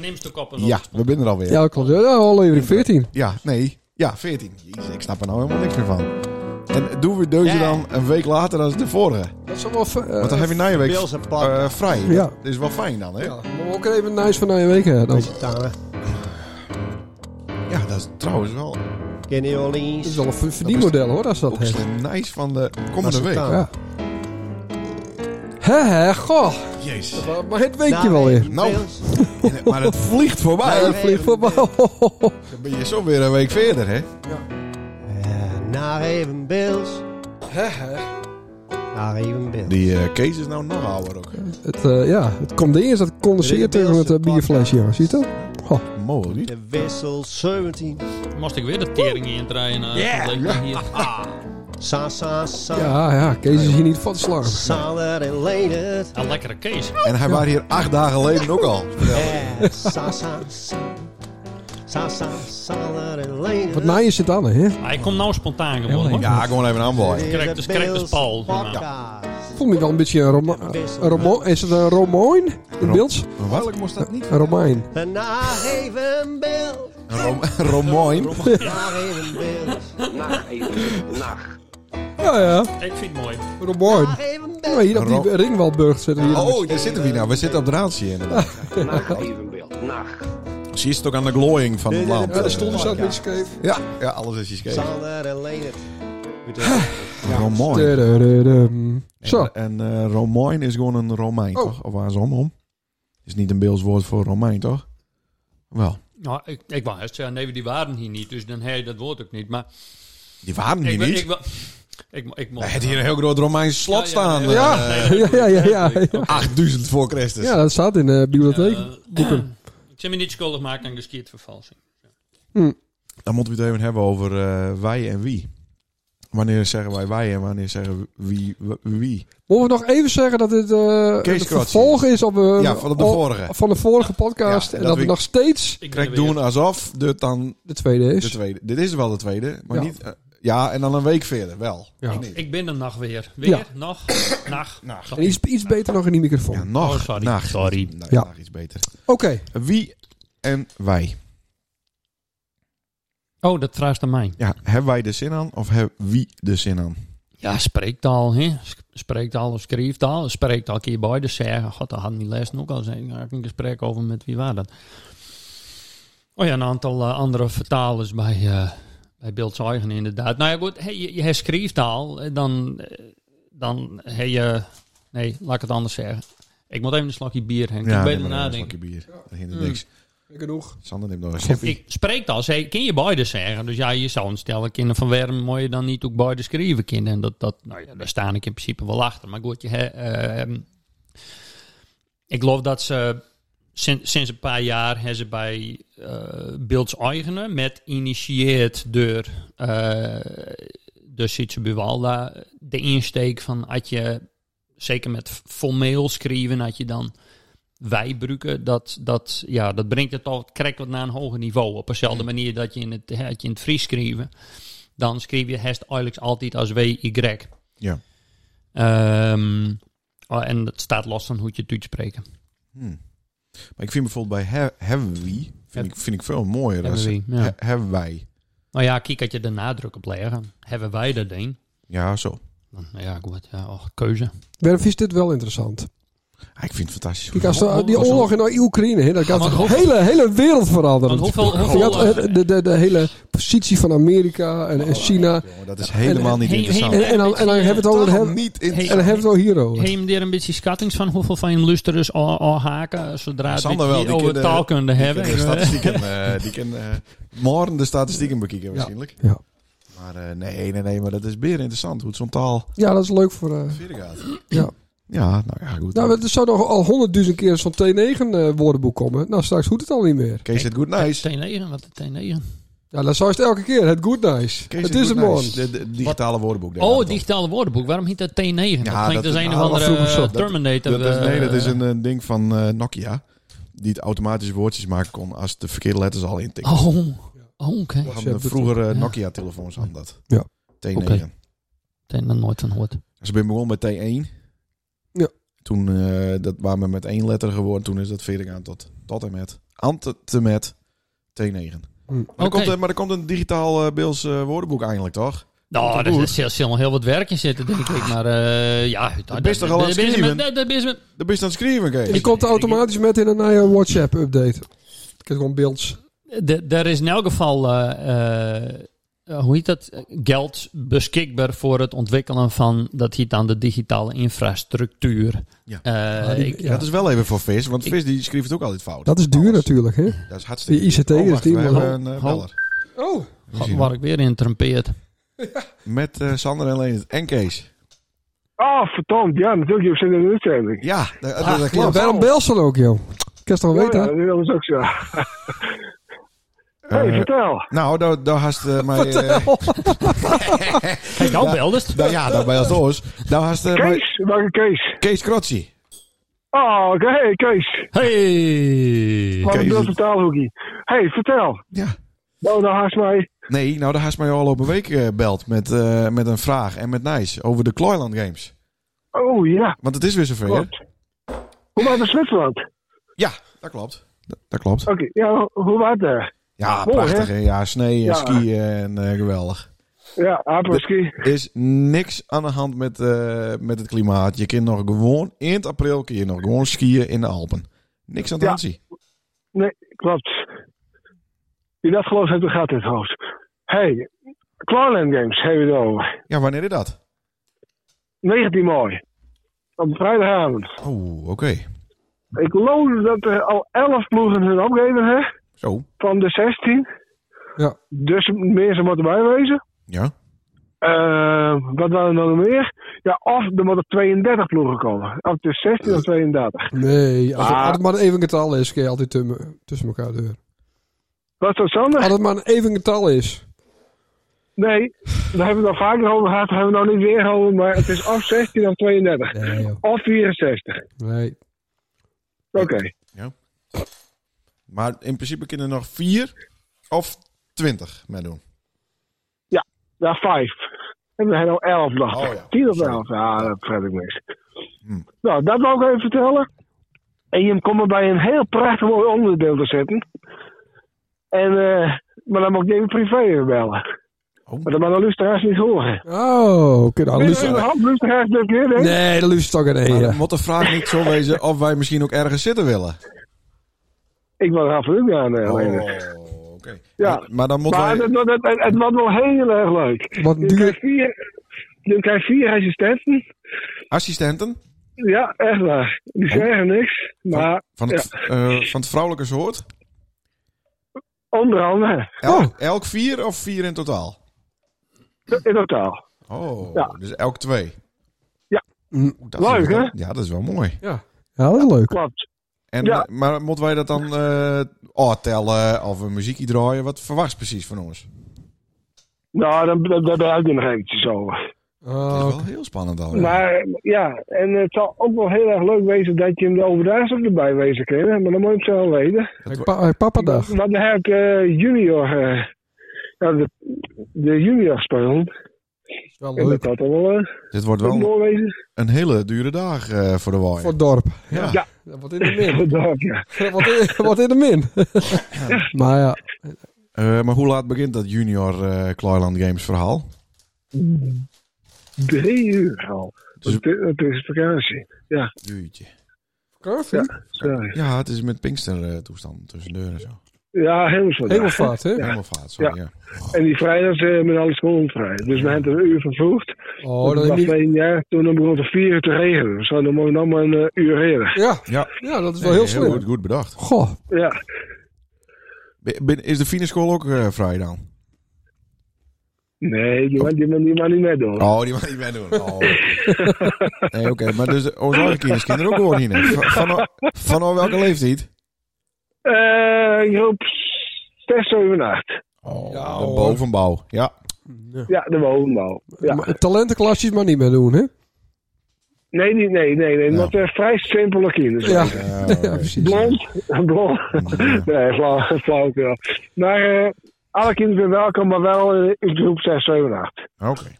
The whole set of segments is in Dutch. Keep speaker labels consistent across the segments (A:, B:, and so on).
A: neemt ook op een
B: Ja, we zijn er alweer.
C: Ja, klopt. Ja, aflevering 14.
B: Ja, nee. Ja, 14. Jezus, ik snap er nou helemaal niks meer van. En doen we deze
A: Ja.
B: dan een week later dan de vorige?
C: Dat is wel... eh,
B: Want dan heb je nou- na je week
A: Pils en plat.
B: eh, vrij.
C: Ja.
B: Dat is wel fijn dan, hè?
C: ja,
B: Ja,
C: maar ook even nice van na je week hè, dan.
D: Met je tanden.
B: dat is trouwens wel
D: Kenny
C: Dat is
D: Orleans.
C: wel een verdienmodel hoor, als dat
B: ook
C: is.
B: nice van de
D: Dat
B: komende
D: is
B: week.
D: het
C: Ja. Hè hè, goh.
B: Jezus.
C: Maar- Maar het weekje wel weer.
B: Nou. En- Maar het vliegt voorbij.
C: Ja, dat vliegt voorbij.
B: Dan ben je zo weer een week verder, hè?
D: Eh, Naar even Bills.
C: Hè, hè.
D: Naar even Bills.
B: Die eh, Kees is nou nog ouder ook.
C: Het, eh, ja, het condenseert, dat condenseert tegen het eh, bierflesje, jongen. Ziet dat?
B: Mooi, niet?
D: De wissel 17.
A: Moest ik weer de tering in draaien. eh,
D: Ja.
A: dat leek me hier.
D: Sa, sa, sa. er
C: Ja, ja, Kees is hier niet van te slaan.
D: Saler en Leendert.
A: Een lekkere Kees.
B: En hij was hier acht dagen geleden ook al.
D: Ja, Eh, Sa, sa, sa. Sa, sa, er Saler en Leendert.
C: Wat naaien zit aan, hè?
A: Hij komt nou spontaan gewoon.
C: Ja,
A: hoor.
B: Ja, gewoon even aanbouwen.
A: Correct, dus correct is Paul.
D: Podcast.
C: Voel me wel een beetje een Roma... een Romo- is het een Romoin in
B: Ro-
C: beeld?
B: Waarlijk moest dat niet.
C: Een Romein.
D: En Naar even Bills.
B: Een Rom- een Romein.
D: Naar even Bills.
E: Nacht even. Nacht.
C: Ja, ja.
A: Ik vind het mooi.
C: Romoin.
D: Naar even
C: Ja,
D: Bills.
C: hier op die
B: Ro-
C: Ringwaldburg zitten we hier.
B: Oh, daar zitten we hier nou. We zitten op de raadsje inderdaad.
E: Nacht evenbeeld. Nacht.
B: Ze is het ook aan de glooiing van het land.
C: Ja, daar stond dus dat met scheef.
B: Ja, ja, alles is je scheef.
D: Sander en Leendert.
B: Romein.
C: Tudurudum. Zo.
B: En, en eh, Romein is gewoon een Romein,
C: Oh.
B: toch? Of waar is om om? Is niet een Beels woord voor Romein, toch? Wel.
A: Nou, ik, ik wou eerst zeggen, nee, die waren hier niet. Dus dan heb je dat woord ook niet. Maar
B: Die waren
A: ik,
B: die
A: wil-
B: niet.
A: ik, wil- ik, mo- ik mocht-
B: Hij had hier een heel groot Romeins slot
A: Ja, ja,
B: staan.
A: nee,
C: Ja.
A: nee,
C: Ja, ja, ja, ja.
A: Eh,
B: eh, 8000 voor Christus.
C: Ja, dat staat in de bibliotheek. boeken.
A: Ik zal me niet schuldig maken aan geschiedenisvervalsing.
B: Dan moeten we het even hebben over eh, wij en wie. Wanneer zeggen wij wij en wanneer zeggen wie w- wie?
C: Mogen we nog even zeggen dat dit eh
B: Kees
C: het
B: Kroatje.
C: vervolg is op, eh,
B: Ja, van de
C: op-
B: vorige.
C: van de vorige podcast.
B: Ja,
C: en
B: dat
C: dat, we
B: we-
C: nog steeds
A: Ik
B: Kijk,
A: ben er weer.
B: doen alsof dit dan
C: de tweede
B: de
C: is.
B: tweede. Dit is wel de tweede, maar
C: Ja.
B: niet. eh, ja, en dan een week verder wel.
C: Ja.
B: Of niet?
A: Ik ben er nog weer. Weer?
C: Ja.
A: Nog? Nacht?
B: Nacht.
C: En iets, iets beter nog in die microfoon.
B: Ja, nog.
A: Oh, sorry.
B: nacht.
A: Sorry.
B: Nou,
C: Ja.
B: nacht iets beter.
C: Oké.
B: Wie en wij.
A: Oh, dat traast aan mij.
B: Ja, hebben wij de zin aan of hebben wie de zin aan?
A: Ja, spreektaal, hè? Sk- Spreektaal of schrijftaal. Spreektaal kun je beide zeggen. God, dat hadden die les ook al zijn. Daar had ik een gesprek over met wie waren dat. Oh ja, een aantal eh, andere vertalers bij, eh bij beeldzeugen inderdaad. Nou ja, goed, hey, je, je hebt schrijftaal, eh, dan, eh, dan heb je... Nee, laat ik het anders zeggen. Ik moet even een slokje bier, Henk. ik ben
B: neem
A: er
B: maar een
A: nadenken. Mm.
B: slokje bier. Dat hindert niks.
C: Genoeg.
B: Sander neemt nog een slokje.
A: Ik spreektaal, zei, kun je beide zeggen. Dus ja, je zou een stellen kinderen van Werm, moet je dan niet ook beide schrijven kinderen. En dat, dat, nou ja, daar sta ik in principe wel achter. Maar goed, je, hè, ehm, ik geloof dat ze sinds, sinds een paar jaar hebben ze bij eh beeldseigenen met initieerd door eh de Sietse Buwalda de insteek van had je zeker met formeel schrijven had je dan wij bruiken, dat, dat, ja, dat brengt het al krijgt wat naar een hoger niveau. Op
B: Mm.
A: dezelfde manier dat je in het, hè, dat je in het Fries schreven, dan schreef je hest eigenlijk altijd als W-Y.
B: Ja.
A: Ehm, oh, en dat staat los van hoe je het uitspreekt.
B: Hmm. Maar ik vind bijvoorbeeld bij he- hebben wie, vind,
A: Het-
B: ik, vind ik veel mooier.
A: Hebben
B: als
A: we, ja.
B: he- hebben wij.
A: Nou ja, kijk, had je de nadruk op leggen. Hebben wij dat ding?
B: Ja, zo.
A: Dan, nou ja, goed, ja, och, keuze.
C: Werf is dit wel interessant.
B: Ah, ik vind het fantastisch.
C: Kijk, als de- die
A: Hoe- hoe-
C: oorlog in Oekraïne, hè, dat gaat
A: Ja,
C: de
A: want hoe-
C: hele, hele wereld veranderen.
A: Want hoeveel,
C: Je
A: hoeveel,
C: had
A: eh,
C: eh, de, de, de hele positie van Amerika en, en China.
B: Jongen, dat is helemaal niet
A: Hey, hey,
B: interessant.
C: En, en, dan, en dan hebben we het
B: Totaal
C: over hem.
B: niet
C: En
B: interessant.
C: dan hebben we het hier
A: Heb
C: over.
A: je hem daar een beetje schattings van hoeveel van je lusterers al al haken zodra het
B: Sander wel,
A: die
B: die
A: over
B: kunnen-
A: taalkunde hebben?
B: Die kunnen de statistieken, eh, die kunnen eh, morgen de statistieken bekijken waarschijnlijk.
C: Ja.
B: Maar eh, nee, nee, nee, maar dat is weer interessant hoe het zo'n taal
C: Ja, dat is leuk voor... eh,
B: verder gaat.
C: Ja.
B: Ja, nou ja, goed.
C: Nou, maar er zou nog al honderdduizend keer zo'n T9 eh, woordenboek komen. Nou, straks hoeft het al niet meer.
B: Kees het goed nice.
A: T9, wat is T9?
C: Ja, dan zou het elke keer. Het good nice.
B: Kees
C: het is
B: good
C: een man.
B: nice. De, de digitale woordenboek. daar gaat
A: Oh,
B: het
A: het
B: om.
A: digitale woordenboek. Waarom heet dat T9? dat
B: Ja,
A: klinkt als
B: dat-
A: een
B: ah,
A: of
B: dat
A: andere
C: vroeger zo.
A: eh,
B: Dat-
A: Terminator.
B: Dat is, nee, dat is
A: eh,
B: een, eh, ding van eh, Nokia. Die het automatisch woordjes maken kon als de verkeerde letters al intikken.
A: Oh, oh, oké.
B: We hadden
C: WhatsApp
B: vroeger
A: ja.
B: eh, Nokia-telefoons aan dat. E,
C: Ja.
B: T9.
A: Oké. Daar heb ik nog nooit van gehoord.
B: Ze ben begonnen met T1.
C: Ja.
B: Toen eh dat waren we met één letter geworden. Toen is dat verder gaan tot, tot en met. Antemet T9.
C: Hm.
B: Maar,
A: Oké.
B: er komt, eh, maar er komt een digitaal eh, Beels eh, woordenboek eindelijk, toch?
A: Nou,
B: Komt
A: daar
B: goed.
A: is- er zal nog heel wat werk in zitten, denk ik. Maar eh, ja, daar- daar-
B: bent toch al aan
A: daar
B: het
A: ben je
B: schrijven?
A: met- daar ben je met-
B: Daar ben je aan het schrijven, Kees.
C: Die komt er automatisch met in een nieuwe WhatsApp-update. Ik heb gewoon beelds.
A: D- Er is in elk geval, eh, eh, hoe heet dat, geld beschikbaar voor het ontwikkelen van, dat heet dan de digitale infrastructuur.
B: Ja.
A: Eh,
C: Ah, die-
A: ik-
C: ja.
B: Dat is wel even voor Vis, want
A: Ik-
B: Vis die schreef het ook altijd fout.
C: Dat is duur
B: Alles.
C: natuurlijk, hè?
B: Dat is hartstikke
C: Die ICT
B: duur.
C: is
B: wacht,
C: die,
B: we
C: maar-
B: hebben een, eh,
A: Ho.
B: beller.
C: Oh,
A: God, waar ik weer in trompeert.
B: Met eh, Sander en Leendert en Kees.
F: Oh, verdomd, ja, natuurlijk. Je zit in de uitzending.
B: Ja, Eh, dat- dat, dat
C: ja,
B: klopt.
C: waarom bel ze dan ook, joh? Kerst dan
F: Ja,
C: weten.
F: ja, dat is ook zo. hey,
B: Eh,
F: vertel.
B: nou, daar, daar had eh mij... eh,
A: Hij is nou beldest.
B: daar- ja, daar bij ons oors. Daar had eh, mij
F: Kees? Welke Kees?
B: Kees Krotsi.
F: Oh, oké, hey, Kees.
A: Hey!
F: Wat
B: Kees
F: een
B: is-
F: beeld taalhoekie. hey, vertel.
B: Ja.
F: Nou, dan haast mij.
B: Nee, nou, daar had mij al op een week eh, belt met, eh, met een vraag en met Nijs over de Kloiland Games.
F: Oh, ja,
B: Want het is weer zover. hè?
F: klopt. Hoe was het in Zwitserland? Oké,
B: Ja, dat klopt. Dat, dat klopt.
F: ja, hoe was het?
B: Ja,
F: Mooi,
B: prachtig.
F: hè?
B: hè? Ja, snee en
F: Ja.
B: skiën en eh, geweldig.
F: Ja, apelski.
B: Er is niks aan de hand met, eh, met het klimaat. Je kunt nog gewoon, eind april kun je nog gewoon skiën in de Alpen. Niks aan de
F: Ja.
B: hand zie.
F: Nee, klopt. Wie dat geloof heeft, dan gaat dit hoofd. hey, Clarland Games hebben we het over.
B: Ja, wanneer is dat?
F: 19 mei. Op vrijdagavond.
B: Oh, oké.
F: Ik loon dat er al 11 ploegen hun opgeven hè,
B: Zo,
F: van de 16.
C: Ja.
F: Dus mensen moeten bijwezen.
B: ja.
F: Eh, wat waren er nog meer? Ja, of er moeten 32 ploegen komen. Of de 16 of 32.
C: Nee, als, het-
F: Ah.
C: als het maar een even getal is, kun je altijd tum- tussen elkaar deur.
F: Wat is dat, Sander?
C: Als het maar een even getal is.
F: Nee, daar hebben we het al vaker over gehad. Daar hebben we het nog niet weer over. Maar het is of 16 of 32.
C: Nee, joh.
F: Of 64. Oké.
C: Nee.
B: Maar in principe kunnen er nog vier of twintig mee doen.
F: Ja, vijf. En we hebben al elf dacht ik.
B: Oh ja.
F: Tien of
B: Sorry.
F: elf. Ja, dat vergeet ik niks.
B: Hmm.
F: Nou, dat wil ik even vertellen. En je komt er bij een heel prachtig mooi onderdeel te zitten. En, eh, maar dan moet ik even privé even bellen.
B: Oh.
F: Maar dat mag de luisteraars niet horen.
C: Oh, oké. nou,
F: Ben je
C: Luus-
F: er überhaupt luisteraars dit keer, hè?
C: Nee, dat luistert toch een
B: Maar
C: één.
B: Nou, dan moet de vraag niet zo wezen of wij misschien ook ergens zitten willen.
F: Ik wil er absoluut niet aan. eh,
B: Oh,
F: Leonard.
B: oké.
F: Ja.
B: Maar, maar dan moeten
F: maar
B: wij...
F: het, het, het, het wordt wel heel erg leuk.
C: Wat
F: Je
C: duur-
F: krijgt vier, je krijgt vier assistenten.
B: Assistenten
F: Ja, echt waar. Die
B: Oh.
F: zeggen niks. Maar
B: van het, eh, van het vrouwelijke soort. Oh.
F: onder andere,
B: Elk, elk vier of vier in totaal?
F: in totaal.
B: Oh,
F: Ja.
B: dus elk twee.
F: Ja.
B: Oeh, dat is
F: Leuk,
B: wel-
F: hè?
B: Ja, dat is wel mooi.
C: Ja. ja, dat is leuk.
F: Klopt.
B: En,
F: Ja.
B: eh, Maar moeten wij dat dan eh oh, tellen of een muziekje draaien? Wat verwacht precies van ons?
F: Nou, dan, dan, dan ben ik er nog eventjes over.
B: Dat is
C: Oh,
B: wel heel spannend al. ja.
F: Maar ja, en het zal ook wel heel erg leuk wezen dat je hem de overdaagse ook erbij wezen kan. hè, Maar dan moet je het zelf weten.
C: hey, pa- hey, papa dag.
F: Want dan heb ik eh, junior, eh, ja, de, de junior spelen.
C: is wel
F: En dat
C: leuk.
F: had dan wel eh,
B: Dit wordt
F: ook
B: wel
F: mooi wezen.
B: een hele dure dag eh, voor de
C: Voor
B: waaier.
C: het dorp.
B: Ja.
F: Ja.
C: Wat in de min.
F: Bedankt, ja.
C: Wat in, wat in de min. Maar ja,
B: Eh, maar hoe laat begint dat junior eh Kloiland Games verhaal?
F: Drie uur al.
B: Dus-
F: Het, het is vakantie.
B: Jeetje.
C: curve.
F: Sorry.
B: Ja, het is met Pinkster eh toestand tussen deur en zo.
F: Ja, helemaal zo.
C: Helemaal vaart, hè?
B: Helemaal vaat, sorry. Ja.
F: En die vrijdag eh, met alle scholen vrij. Dus we hebben het een uur vervroegd.
C: Oh,
F: dat
C: dan heb
F: was
C: je...
F: één jaar toen het begon het vier uur te regenen. Dus dan moet je nog maar een eh, uur eerder.
C: Ja.
B: Ja.
C: ja, dat is wel heel
B: Heel goed,
C: slim.
B: goed bedacht.
C: Goh,
F: Ja.
B: Bi- bin- Is de Fineschool ook eh, vrij dan?
F: Nee, die man, die man, die man niet meer door.
B: Oh, die mag niet meer doen. Oh. nee, oké. Maar dus de- onze eigen kinderen ook gewoon hier. Van, van, van oh, welke leeftijd?
F: Eh, groep 6, 7 en 8.
B: Oh,
C: Ja,
B: de
C: hoor.
B: bovenbouw. Ja.
F: Ja, de woonbouw. Ja.
C: Maar talentenklasjes maar niet meer doen, hè?
F: Nee, niet, nee, nee, nee.
B: Ja.
F: Want eh, vrij simpele kinderen.
C: Ja,
B: Ja,
C: ja,
B: oké.
C: precies.
F: Blond, blond.
B: Ja.
F: Nee, flauw, flauw. ja. Maar eh, alle kinderen zijn welkom, maar wel eh, in groep 6, 7 en 8.
B: Oké.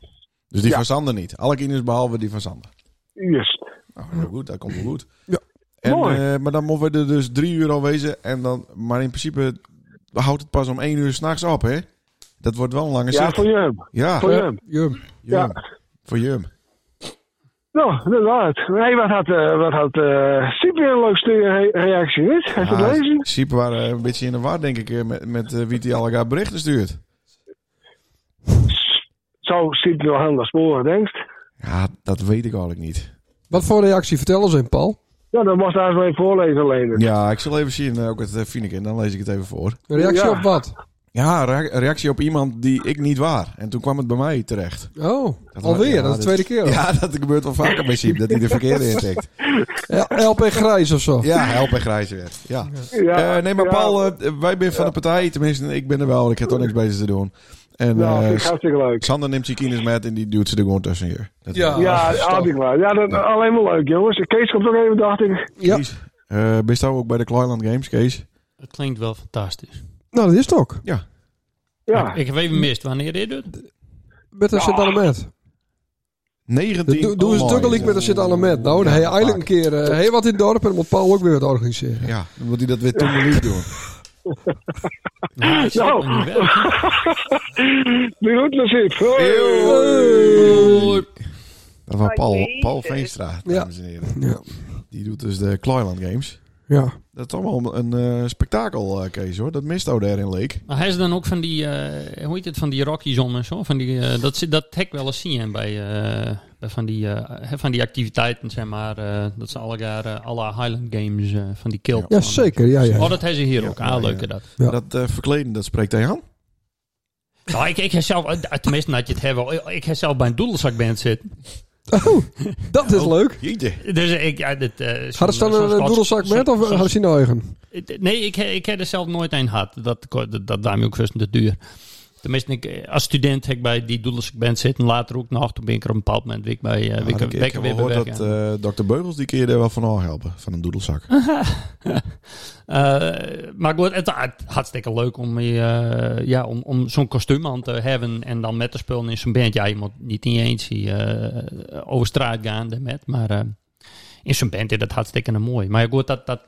B: Dus die
F: Ja.
B: van Sander niet. Alle kinderen behalve die van Sander.
F: Juist.
B: Nou, heel goed. Dat komt wel goed.
C: Ja.
B: En,
F: Mooi.
B: eh, maar dan moeten we er dus drie uur al wezen. En dan, maar in principe houdt het pas om één uur s'nachts op, hè? Dat wordt wel een lange
F: Ja,
B: zit.
F: voor Jum.
B: Ja,
F: Voor Jum.
C: Jum.
B: Jum.
F: ja.
B: Voor Jum.
F: Nou, dat was het. Nee, wat had, eh wat had eh Siep weer een leuk stukje re- reactie, niet? Heeft je
B: Ja,
F: het lezen?
B: Siepen waren een beetje in de war, denk ik, eh, met, met eh, wie die al elkaar berichten stuurt.
F: Zou Siep nog helemaal sporen, denkst?
B: Ja, dat weet ik eigenlijk niet.
C: Wat voor reactie vertellen ze in, Paul?
F: Ja, dan moest daar eens mee voorlezen, Leendert.
B: Ja, ik zal even zien, eh, ook het eh, Fieneke, en dan lees ik het even voor.
C: Een reactie
F: Ja.
C: op wat?
B: Ja, re- reactie op iemand die ik niet waar. En toen kwam het bij mij terecht.
C: Oh,
B: Dat
C: alweer.
B: was- ja,
C: dat is de
B: dat-
C: tweede keer. al. Ja.
B: Ja, dat gebeurt wel vaker bij Siep, dat hij de verkeerde intikt.
C: LP Grijs of zo.
B: Ja, help en grijze weer. Ja.
F: Ja,
B: Eh, nee, maar
F: ja.
B: Paul, eh, wij zijn van de partij. Tenminste, ik ben er wel. Ik heb toch niks bezig te doen. En
F: Nou,
B: eh,
F: vind ik hartstikke leuk.
B: Sander neemt zijn kines met en die duwt ze er gewoon tussen hier. Dat
C: Ja.
F: Ja,
C: dat is
F: hartstikke leuk. Ja, dat, alleen maar leuk, jongens. Kees komt ook even, dacht ik.
C: Ja.
B: Kees, eh, ben je ook bij de Clyland Games, Kees?
A: Het klinkt wel fantastisch.
C: Nou, dat is het ook.
F: Ja,
A: Ik heb even mist wanneer dit doet.
C: Met een
F: Ja.
C: Sint-Annemet.
B: 19.
C: Doe doen ze
B: online.
C: natuurlijk met een Sint-Annemet. Nou, dan
B: Ja,
C: heb je eigenlijk een keer eh, heel wat in het dorp en dan moet Paul ook weer wat organiseren.
B: Ja, dan moet hij dat weer toen lief doen.
A: Nou, ik zit
F: Nou.
A: nog niet weg, hè.
F: nu doet het Siep.
A: Hoi.
B: Dat was Paul,
G: Jezus.
B: Paul Veenstra, dames en heren.
C: Ja.
B: Die doet dus de Clyland Games.
C: Ja.
B: Dat is allemaal een eh, spektakel, eh, Kees, hoor. Dat mist ook daar in Leek.
A: Maar hij is dan ook van die, eh, hoe heet het, van die Rockies om en zo. Van die, eh, dat, zit- dat hek wel eens zien hè, bij, eh, bij van, die, eh, hè, van die activiteiten, zeg maar. eh, dat ze alle jaar eh, alle Highland Games eh, van die kilt.
C: ja, zeker. Ja, ja.
A: Oh, dat hebben ze hier
B: Ja,
A: ook.
B: ja,
A: Ah, leuk
B: ja.
A: hè, dat.
C: Ja.
B: Dat eh, verkleden, dat spreekt hij aan.
A: Nou, ik, ik heb zelf, eh, tenminste, dat je het hebben. Ik heb zelf bij een doedelzakband zitten.
C: Oh, dat is leuk.
B: Jeetje.
A: Dus ik, ja, dit, eh, zo'n-
C: Hadden ze dan
A: zo'n
C: een
A: Scots-
C: doedelzak met
A: zo'n-
C: of eh,
A: zo'n-
C: hadden ze een eigen?
A: Nee, ik, ik heb er zelf nooit een gehad. Dat, dat, dat daarmee ook vast te duur. Tenminste, ik, als student heb ik bij die doedelzakband zitten. Later ook nog. Toen ben ik er op een bepaald moment weer bij eh,
B: Ja,
A: Wikker-
B: ik, ik
A: Wikker
B: heb
A: weer
B: wel gehoord
A: bewerken.
B: dat eh dokter Beugels die keer er wel van al helpen. Van een doedelzak.
A: Eh, maar goed, het, het hartstikke leuk om, eh, ja, om, om zo'n kostuum aan te hebben en dan met te spullen in zo'n band. Ja, je moet niet in je eentje eh, over straat gaan met, maar eh, in zo'n band is dat hartstikke mooi. Maar goed, dat, dat,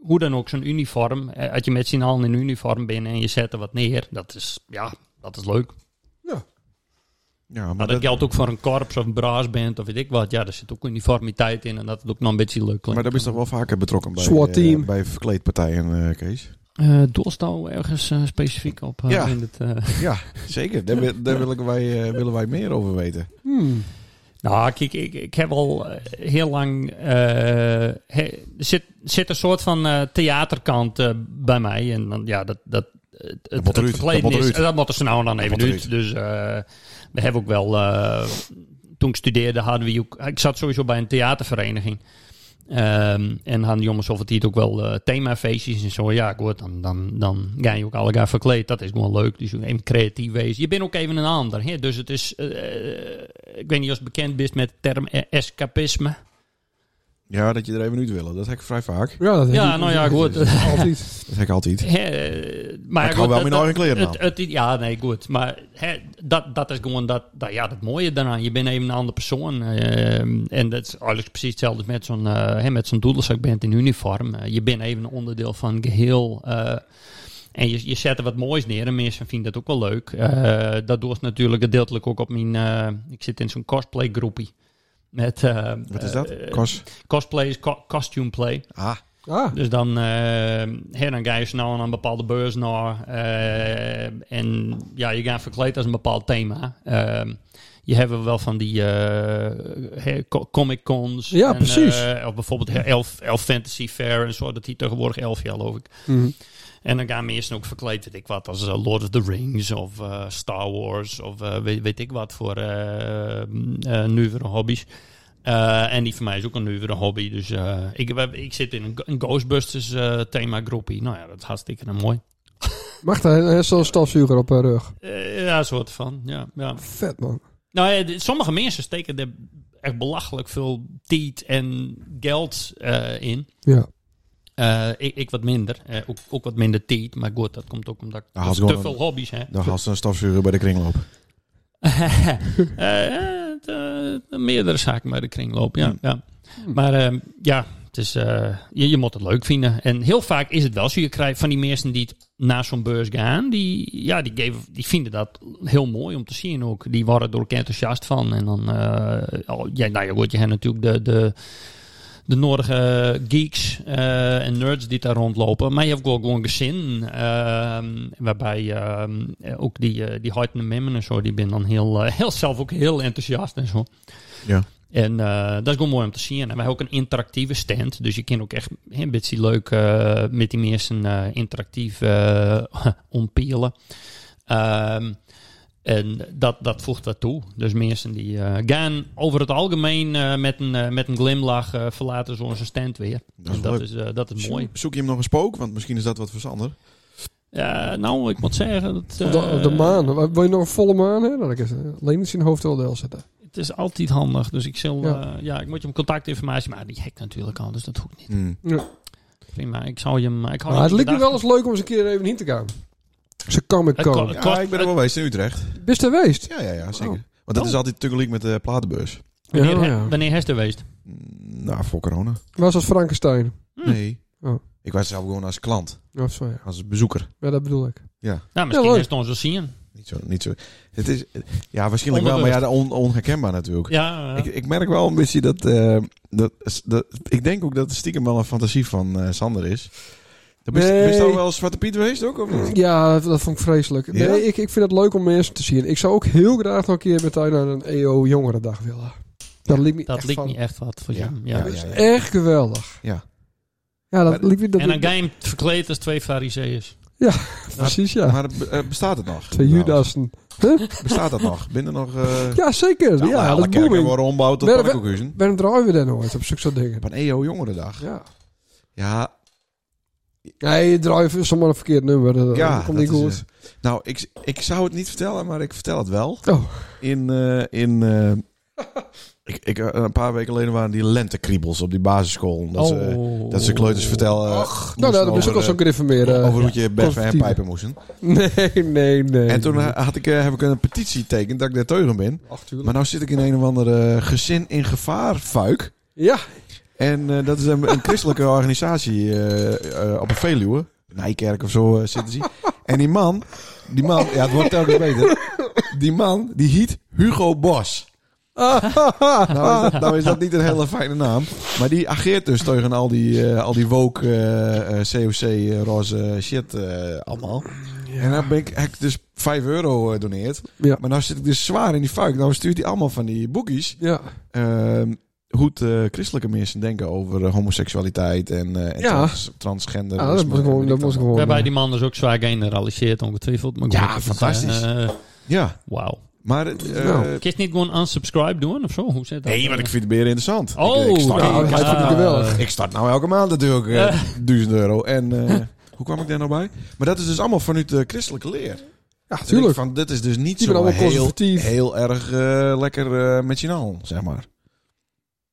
A: hoe dan ook zo'n uniform, eh, als je met z'n allen in een uniform bent en je zet er wat neer, dat is, ja, dat is leuk. Maar,
B: Ja, maar,
A: dat,
B: Ah, dat,
A: geldt ook voor een korps of een brassband of weet ik wat. Ja, daar zit ook uniformiteit in en dat het ook nog een beetje leuk klinkt.
B: maar daar ben je toch wel vaker betrokken bij,
C: SWAT
B: eh,
C: team.
B: bij verkleedpartijen, eh, Kees?
A: Eh, doelst nou ergens eh, specifiek op eh,
B: Ja.
A: in het... eh,
B: Ja, zeker. Daar, wil- daar willen, wij, eh, willen wij meer over weten.
C: Hmm.
A: Nou, kijk, ik, ik heb al eh, heel lang. eh, he- zit, zit een soort van eh, theaterkant eh, bij mij. En dan, ja, dat. dat het, het,
B: moet
A: het
B: eruit,
A: verkleden
B: dat moet
A: is-
B: eruit.
A: dat moeten ze nou dan
B: Dat
A: even
B: moet
A: uit. Dus eh, we hebben ook wel. eh, toen ik studeerde hadden we ook. Ik zat sowieso bij een theatervereniging. Ehm, en hadden jongens of het hier ook wel eh, themafeestjes en zo. Ja, goed, dan, dan, dan ga je ook elkaar verkleed. Dat is gewoon leuk. Dus even creatief wezen. Je bent ook even een ander. Hè? Dus het is, eh, eh, ik weet niet of je bekend bent met de term eh, escapisme.
B: Ja, dat je er even uit willen. Dat heb ik vrij vaak.
C: Ja, dat
A: Ja, nou ja, goed.
C: Altijd.
B: Dat heb ik altijd.
A: Hè, eh, maar
B: ik hou wel
A: dat-
B: mijn
A: dat-
B: eigen kleren
A: het- het- Ja, nee, goed. Maar hè, dat, dat is gewoon dat, dat, ja, dat mooie daaraan. Je bent even een andere persoon. ehm, en dat is eigenlijk precies hetzelfde met zo'n eh, hè, met zo'n doedelzakband in uniform. Eh, je bent even een onderdeel van het geheel. eh, en je, je zet er wat moois neer en mensen vinden dat ook wel leuk. Eh dat doet natuurlijk gedeeltelijk ook op mijn... eh, ik zit in zo'n cosplay groepie. Met, eh,
B: Wat is dat?
A: eh,
B: Kos?
A: cosplay is co- costume play.
B: Ah,
C: Ah,
A: Dus dan, eh, hè, dan ga je snel naar nou een bepaalde beurs naar. eh, en ja, je gaat verkleed als een bepaald thema. Ehm, je hebben wel van die eh, hè, co- Comic Cons.
C: Ja,
A: en,
C: precies.
A: eh, of bijvoorbeeld Elf, Elf Fantasy Fair en zo. Dat heet tegenwoordig Elf, ja, geloof ik.
C: Mhm.
A: En dan gaan mensen ook verkleed, weet ik wat, als eh, Lord of the Rings of eh, Star Wars of eh, weet, weet ik wat voor eh eh, nuivere hobby's. Eh, en die van mij is ook een nuivere hobby. Dus eh, ik, we- ik zit in een, go- een Ghostbusters eh thema groepie. Nou ja, dat is hartstikke mooi.
C: mag daar een zo'n stofzuiger op haar rug.
A: Eh, ja, soort van. Ja, ja.
C: Vet man.
A: Nou, ja, de- sommige mensen steken er echt belachelijk veel tijd en geld eh, in.
C: Ja.
A: Eh, ik, ik wat minder. Eh, ook, ook wat minder tijd. Maar goed, dat komt ook omdat ik
B: Nou, had
A: te
B: gewoon
A: veel
B: een-
A: hobby's heb.
B: dan had ze een stofzuren bij de kringloop. Hmm.
A: Eh, eh, het, eh, meerdere zaken bij de kringloop, ja. ja. Maar ehm, ja, het is, eh, je, je moet het leuk vinden. En heel vaak is het wel zo. Je krijgt van die mensen die het naar zo'n beurs gaan, die, ja, die, geven, die vinden dat heel mooi om te zien ook. Die worden er ook enthousiast van. En dan, eh, oh, ja, nou ja, goed, je hebt natuurlijk de, de, de nodige geeks eh, en nerds die daar rondlopen. Maar je hebt ook gewoon gezin, ehm, waarbij ehm, ook die, eh, die hartende memmen en zo, die ben dan heel, eh, heel zelf ook heel enthousiast en zo.
B: Ja.
A: En eh, dat is gewoon mooi om te zien. En wij hebben ook een interactieve stand. Dus je kan ook echt een beetje leuk eh, met die mensen eh, interactief eh ompielen. Ehm, en dat, dat voegt wat toe. Dus mensen die eh, gaan over het algemeen eh, met, een, eh, met een glimlach eh, verlaten ze onze stand weer.
B: Dat is
A: en dat
B: leuk.
A: is, eh, dat is mooi.
B: Zoek- Zoek je hem nog een spook? Want misschien is dat wat voor Sander.
A: Eh, nou, ik moet zeggen. Dat,
C: Op de,
A: eh,
C: op de maan. Wa- Wil je nog een volle maan hebben? Dan kan ik eh, alleen zijn hoofd wel deel zetten.
A: Het is altijd handig. Dus ik zal. eh, Ja,
C: Ja.
A: ik moet je om contactinformatie. Maar die hek natuurlijk al. Dus dat hoeft niet.
B: Hmm.
C: Ja.
A: Prima. Ik zal je hem. Ik hou
C: Maar het
A: hem in
C: lijkt me wel
A: gedachten.
C: eens leuk om eens een keer even heen te gaan. Ze Comic
A: Het kan-
C: Con.
A: Klopt.
B: Ja, ik ben er wel geweest in Utrecht.
C: Best er geweest?
B: eh, Ja, ja, ja, zeker.
C: Oh.
B: Want dat is altijd tegelijk met de platenbeurs.
A: Wanneer,
C: Ja,
A: he-
C: ja.
A: wanneer Hester geweest?
B: Mm, Nou, voor corona.
C: Was als Frankenstein.
A: Hm.
B: Nee.
C: Oh.
B: Ik was zelf gewoon als klant,
C: Of zo, ja.
B: als bezoeker.
C: ja, dat bedoel ik.
A: Nou, misschien
C: leuk.
A: is het ons wel zien.
B: Niet zo, niet zo. Het is, ja, waarschijnlijk wel, maar ja, on, onherkenbaar natuurlijk.
A: Ja, eh,
B: Ik, ik merk wel een beetje dat, eh, dat, dat- Ik denk ook dat het stiekem wel een fantasie van eh, Sander is. Dan bist,
C: Nee.
B: bist al wel Zwarte Piet geweest ook, of niet?
C: Ja, dat, dat vond ik vreselijk.
B: Ja?
C: Nee, ik, ik vind het leuk om mensen te zien. Ik zou ook heel graag nog een keer met haar naar een EO Jongerendag willen. Dat liep me
A: dat
C: echt
A: ligt
C: van-
A: niet echt wat voor
B: Ja.
A: jou.
B: Ja,
A: Ja.
B: ja.
C: Echt geweldig.
B: Ja.
C: Ja, dat
B: Maar-
C: liep me... Dat
A: En dan
C: liep-
A: ga je hem verkleed als twee fariseeërs.
C: precies, ja.
B: Maar eh, bestaat het nog?
C: Twee
B: Nou,
C: Judasen.
B: Bestaat dat nog? Binnen nog... eh
C: Ja, zeker. Ja,
B: nou, alle
C: dat
B: kerken
C: booming.
B: worden ombouwd tot
C: We- we-
B: Pannenkoekhuizen.
C: Waarom draaien we dan nooit op zulke soort dingen?
B: Op een EO Jongerendag.
C: Ja.
B: Ja,
C: Nee, je draait zomaar een verkeerd nummer. Dat,
B: ja.
C: dat komt niet
B: dat is,
C: goed.
B: eh, nou, ik, ik zou het niet vertellen, maar ik vertel het wel.
C: Oh,
B: in, eh, in eh, ik, ik, eh, een paar weken geleden waren die lentekriebels op die basisschool. Dat, ze, dat ze kleuters vertellen.
C: Oh.
B: eh,
C: nou,
B: moesten
C: nou, dat is ook wel
B: over,
C: zo'n griffemeer.
B: eh, over
C: meer.
B: hoe je best en
C: conservatieve.
B: pijpen moesten.
C: nee, nee, nee.
B: En toen ha- had ik, eh, heb ik een petitie tekend dat ik daar teugen ben.
C: Ach, tuurlijk.
B: Maar nou zit ik in een of andere gezin in gevaar fuik.
C: Ja,
B: En eh, dat is een, een christelijke organisatie eh, eh, op een Veluwe. Nijkerk of zo eh, zitten ze. En die man, die man, ja het wordt telkens beter. Die man, die hiet Hugo Bos. nou, is dat, nou is dat niet een hele fijne naam. Maar die ageert dus tegen al die, eh al die woke eh, eh, COC eh, roze shit eh, allemaal. En dan ben ik, heb ik dus 5 euro eh, doneerd.
C: Ja.
B: Maar nou zit ik dus zwaar in die fuik. Nou stuurt hij allemaal van die boekies.
C: ja.
B: ehm, hoe de christelijke mensen denken over eh, homoseksualiteit en, eh, en
C: Ja.
B: trans- transgender. Dus
C: Ah, dat moet gewoon... Dat moet gewoon
A: Waarbij die man dus ook zwaar generaliseert, ongetwijfeld. Maar goed,
B: Ja,
A: dat is,
B: fantastisch.
A: eh,
B: Ja,
A: Wauw.
B: maar... eh,
C: Nou.
A: Kun je het niet gewoon unsubscribe doen of zo? Hoe zit dat? Eh,
B: Nee, maar ik vind het meer interessant.
A: Oh,
B: ik, ik start,
C: nou,
B: ik,
C: dat
B: start-
C: vind ik geweldig.
B: ik start nou elke maand natuurlijk eh,
A: Ja.
B: 1000 euro. En eh, hoe kwam ik daar nou bij? Maar dat is dus allemaal vanuit de christelijke leer.
C: Ja,
B: Dat ik
C: tuurlijk.
B: Van, dit is dus niet
C: Die
B: zo
C: zijn allemaal
B: heel,
C: conservatief.
B: heel erg eh, lekker eh, met je naal, zeg maar.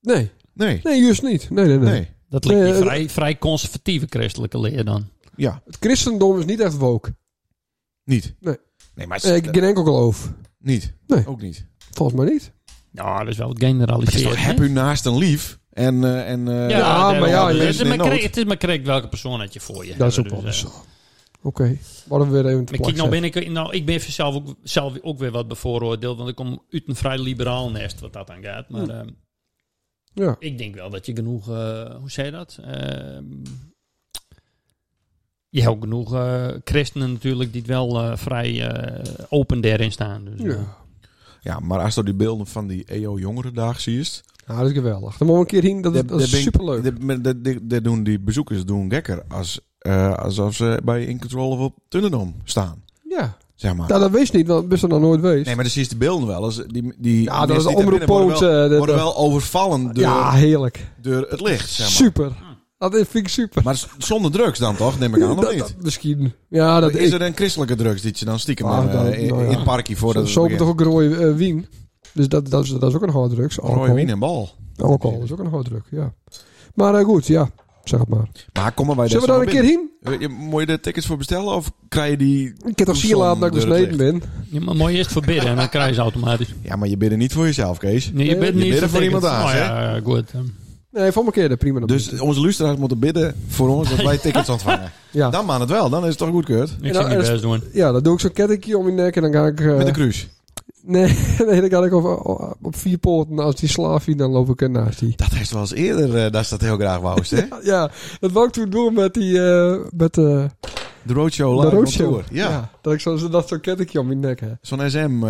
C: Nee,
B: Nee,
C: nee, juist niet. Nee, nee, nee.
B: nee.
A: Dat lijkt
C: Nee,
A: je
C: eh,
A: vrij, vrij conservatieve christelijke leer dan.
B: Ja,
C: Het christendom is niet echt woke.
B: niet.
C: Nee.
B: Nee, maar het is-
C: Eh, ik- geen enkel geloof.
B: niet.
C: Nee.
B: Ook niet.
C: Volgens mij niet.
A: Ja, Nou, dat is wel wat
B: Het is
A: generaliseren.
B: toch, heb u naast een lief en... eh, en eh,
A: Ja,
C: Ja,
A: daar-
C: maar ja,
A: het, is
B: mensen in
A: maar
B: nood.
A: kreeg, het is maar kreeg welke persoon had je voor je.
C: Dat is
A: hebben,
C: ook wel
A: dus,
C: eens zo.
A: eh.
C: Oké, worden we weer even te
A: Maar kijk, nou
C: plakken.
A: ben ik, nou, ik ben zelf ook, zelf ook weer wat bevooroordeeld, want ik kom uit een vrij liberaal nest wat dat aan gaat.
B: Hmm.
A: Maar ehm,
C: Ja.
A: ik denk wel dat je genoeg, eh, hoe zei je dat? Ehm, je hebt ook genoeg eh, christenen natuurlijk die het wel eh, vrij eh, open daarin staan. Dus, eh,
C: Ja.
B: ja, maar als je die beelden van die E EO Jongerendag ziet...
C: Nou, dat is geweldig. Dan mogen we een keer heen. Dat is, dat is
B: ben ik-
C: superleuk.
B: daar- maar daar- daar- daar doen die bezoekers doen gekker als, eh, alsof ze bij In Control of op Tunnendom staan,
C: ja.
B: zeg maar.
C: Nou, dat wees niet, want best er nog nooit wees.
B: Nee, maar dan zie je de beelden wel. Als die, die
C: ja, dat
B: mensen
C: is de
B: die daar
C: omroep
B: binnen worden
C: Poot.
B: wel,
C: eh, dat-
B: worden wel overvallen door,
C: Ja, heerlijk.
B: door het licht, zeg maar.
C: Super. Dat is- vind ik super.
B: Maar z- zonder drugs dan toch, neem ik aan, of
C: Dat-
B: niet?
C: dat- misschien. Ja, dat
B: Is
C: is
B: er een christelijke drugs die je dan stiekem
C: Ah,
B: eh,
C: dan-
B: in,
C: nou ja.
B: in het parkje voordat
C: Zo
B: het
C: hebben toch
B: begint?
C: ook rode eh, wien. Dus dat, dat, is, dat is ook een harddrugs.
B: Rode
C: Alcohol.
B: wien en bal.
C: Alcohol is ook een harddruk, ja. Maar eh, goed, ja. Zeg het maar.
B: Maar komen wij dus
C: Zullen we daar een keer heen?
B: keer heen? Moet je er tickets voor bestellen of krijg je die...
C: Ik heb toch
B: Hoezo
C: zien laten dat ik
B: door het
C: besneden ben.
A: Ja, maar mooi eerst verbidden en dan krijg je ze automatisch.
B: Ja, maar je bidden niet voor jezelf, Kees.
A: Nee, je bent
B: Je
A: niet
B: Eh, bidden voor
A: vertekend.
B: iemand
A: Oh
B: anders,
A: ja, goed. ehm.
C: Nee, volgende keer de prima. Dus,
B: Dus onze luisteraars moeten bidden voor ons dat wij tickets ontvangen.
C: ja.
B: Dan man het wel, dan is het toch goedkeurd.
A: Ik
C: dan-
A: zou niet
C: en-
A: best doen.
C: ja, dan doe ik zo'n kettingje om mijn nek en dan ga ik... eh,
B: Met een cruise.
C: nee, nee, dan ga ik op, op, op vier poten. Als die slaaf dan loop ik er naast die.
B: Dat heeft wel eens eerder, eh, daar staat heel graag Woust, hè?
C: Ja, dat wou ik toen doen met die... eh, met eh,
B: De Roadshow
C: de
B: Live on
C: roadshow.
B: Tour. Ja,
C: dat ik zo, dat zo'n kettingje om mijn nek heb.
B: zo'n SM-ding.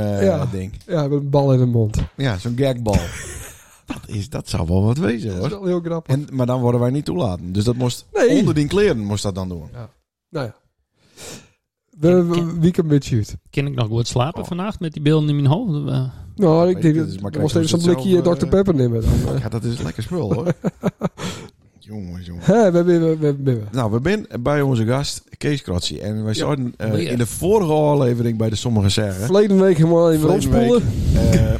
C: Ja. Ja, met een bal in de mond.
B: Ja, zo'n gagbal. dat, is, dat zou wel wat wezen,
C: Dat is
B: hoor.
C: wel heel grappig.
B: En, maar dan worden wij niet toelaten. Dus dat moest
C: Nee.
B: onder die kleren moest dat dan doen.
C: Nou ja. We, we, we can bitch shoot.
A: Kan ik nog goed slapen
B: Oh.
A: vannacht met die beelden in mijn hoofd? Eh,
C: Nou, ik
B: weet het,
C: denk dat
B: dus
C: ik
B: maar
C: moest
B: kijk,
C: even zo'n
B: als het
C: blikje
B: zelf, eh,
C: Dr. Pepper nemen. Dan.
B: Ja, dat is lekker spul hoor. jongen, jongen.
C: Hé, we hebben we, we, we, we.
B: Nou, we zijn bij onze gast Kees Krotsi. En wij zouden eh,
A: Weer.
B: in de vorige aflevering bij de Sommige Zeggen...
C: Verleden week helemaal even
B: Verleden
C: opspoelen.
B: eh,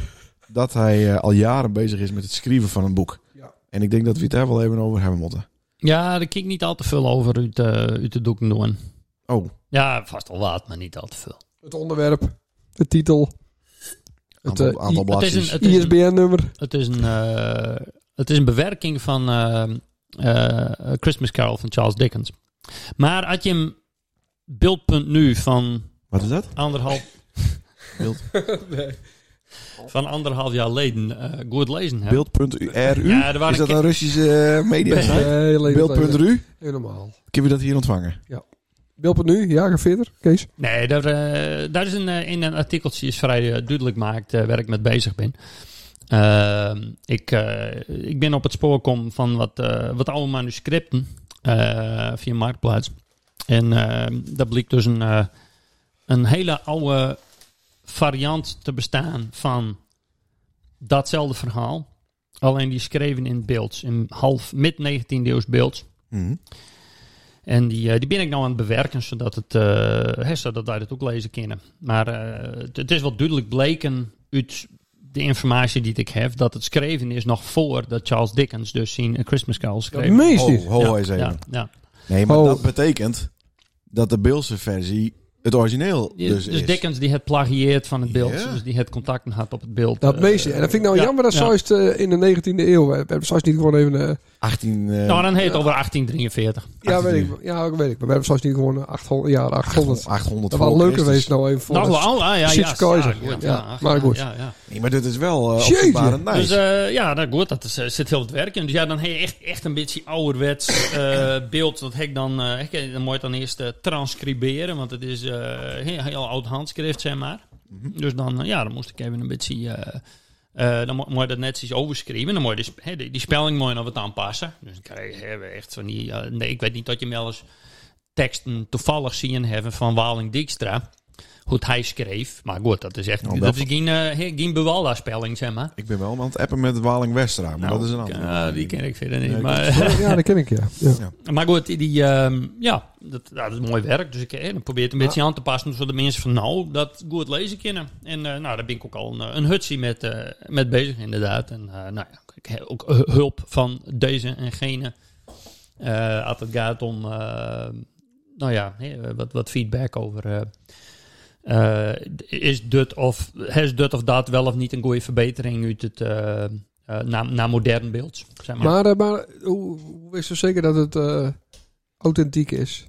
B: dat hij eh, al jaren bezig is met het schrijven van een boek.
C: Ja.
B: En ik denk dat we het daar wel even over hebben moeten.
A: ja, daar kijk ik niet al te veel over uit, eh, uit de doeken doen.
B: Oh,
A: Ja, vast al wat, maar niet al te veel.
C: Het onderwerp, de titel, het
B: aantal,
C: eh,
B: aantal
A: Het is
B: blaadjes.
A: een, het is een,
C: ISBN-nummer.
A: het is een, eh, het is een bewerking van eh, eh, Christmas Carol van Charles Dickens. Maar had je hem beeld.nu van
B: Wat is dat?
A: anderhalf, van anderhalf jaar geleden eh, goed lezen hebt.
B: Beeld.ru?
A: Ja, er waren
B: is dat
A: ki-
B: een Russische eh, media?
C: Nee,
B: Beeld.ru?
C: Helemaal.
B: Kunnen we dat hier ontvangen?
C: Beeld nu, ja, ga verder, Kees.
A: Nee, daar, eh, daar is een, eh, in een artikeltje is vrij eh, duidelijk maakt eh, waar ik mee bezig ben. Ehm, ik, eh, ik ben op het spoor kom van wat, eh, wat oude manuscripten eh, via Marktplaats. En ehm dat blijkt dus een, eh, een hele oude variant te bestaan van datzelfde verhaal. Alleen die schreven in beelds, in half mid-19e eeuws beelds.
B: Mhm.
A: En die, eh, die ben ik nou aan het bewerken, zodat, het, eh hè, zodat wij dat ook lezen kunnen. Maar eh, het, het is wel duidelijk bleken uit de informatie die ik heb, dat het schreven is nog voor dat Charles Dickens dus zijn A Christmas Carol schreef.
C: Meest
B: Oh, Ho,
C: niet.
B: ho,
A: ja,
B: eens even.
A: ja, ja.
B: Nee, maar
C: Oh.
B: dat betekent dat de Beelse versie het origineel
A: Die-
B: dus,
A: Dus,
B: is.
A: Dickens die het plagieert van het beeld,
B: Ja.
A: dus die het contacten had op het beeld.
C: Dat
A: eh,
C: meeste. En dat vind ik nou
A: ja,
C: jammer dat
A: ja.
C: ja. in de 19e eeuw. eh, Hebben ze niet gewoon even. eh,
B: 18... eh,
A: Nou, dan heet het over 1843.
C: ja,
B: 18e
C: weet
B: eeuw.
C: ik, ja, weet ik. Maar we hebben zelfs niet gewoon 800 jaar 800.
B: 800
C: Dat was
B: voor
C: leuker
B: Christus.
C: geweest nou even voor.
A: Nou,
C: ons.
A: wel, ah, ja, ja,
C: Precies,
A: ja,
C: keizer.
A: ja, goed,
C: Ja,
A: ja,
C: maar
A: ja,
C: goed.
A: ja, ja.
B: Nee, maar dit is wel
C: Jeetje.
B: eh openbarend nice.
A: Dus eh, ja, nou goed, dat is, eh, zit heel wat werk in. Dus ja, dan heb je echt, echt een beetje ouderwets eh, beeld. Dat heb ik dan, eh, ik, eh, dan moet je het dan eerst eh, transcriberen, want het is eh, heel, heel oud handschrift, zeg maar.
B: Mhm.
A: Dus dan, eh, ja, dan moest ik even een beetje, eh, eh, dan mo- moet je dat netjes overschrijven. Dan moet je die, sp- hè, die, die spelling moet je nog wat aanpassen. Dus dan krijg je hè, echt van die, eh, nee, ik weet niet dat je wel eens teksten toevallig zien hebben van Waling Dijkstra. Goed, hij schreef. Maar goed, dat is echt
B: Nou,
A: dat
B: wel-
A: is geen, eh, geen Bewalda-spelling, zeg maar.
B: Ik ben wel aan het appen met Waling Westra, maar dat is een
A: Nou,
B: ander.
A: ja, die ken ik verder niet.
B: Nee,
A: maar,
C: Ja, dat ken ik, ja. ja.
A: maar goed, die, die, ehm, ja, dat, ja, dat is mooi werk. Dus ik eh, dan probeer het een beetje aan te passen, zodat de mensen van nou dat goed lezen kunnen. En eh, nou, daar ben ik ook al een, eh, een hutsie met, eh, met bezig, inderdaad. En eh, nou ja, ik heb ook eh, hulp van deze en gene. Eh als het gaat om, eh, nou ja, eh, wat, wat feedback over. eh, eh, is dit of, is dit of dat wel of niet een goede verbetering uit het, eh, eh, naar, naar modern beeld? Zeg maar.
C: Maar, eh, maar hoe, hoe is er zeker dat het eh, authentiek is?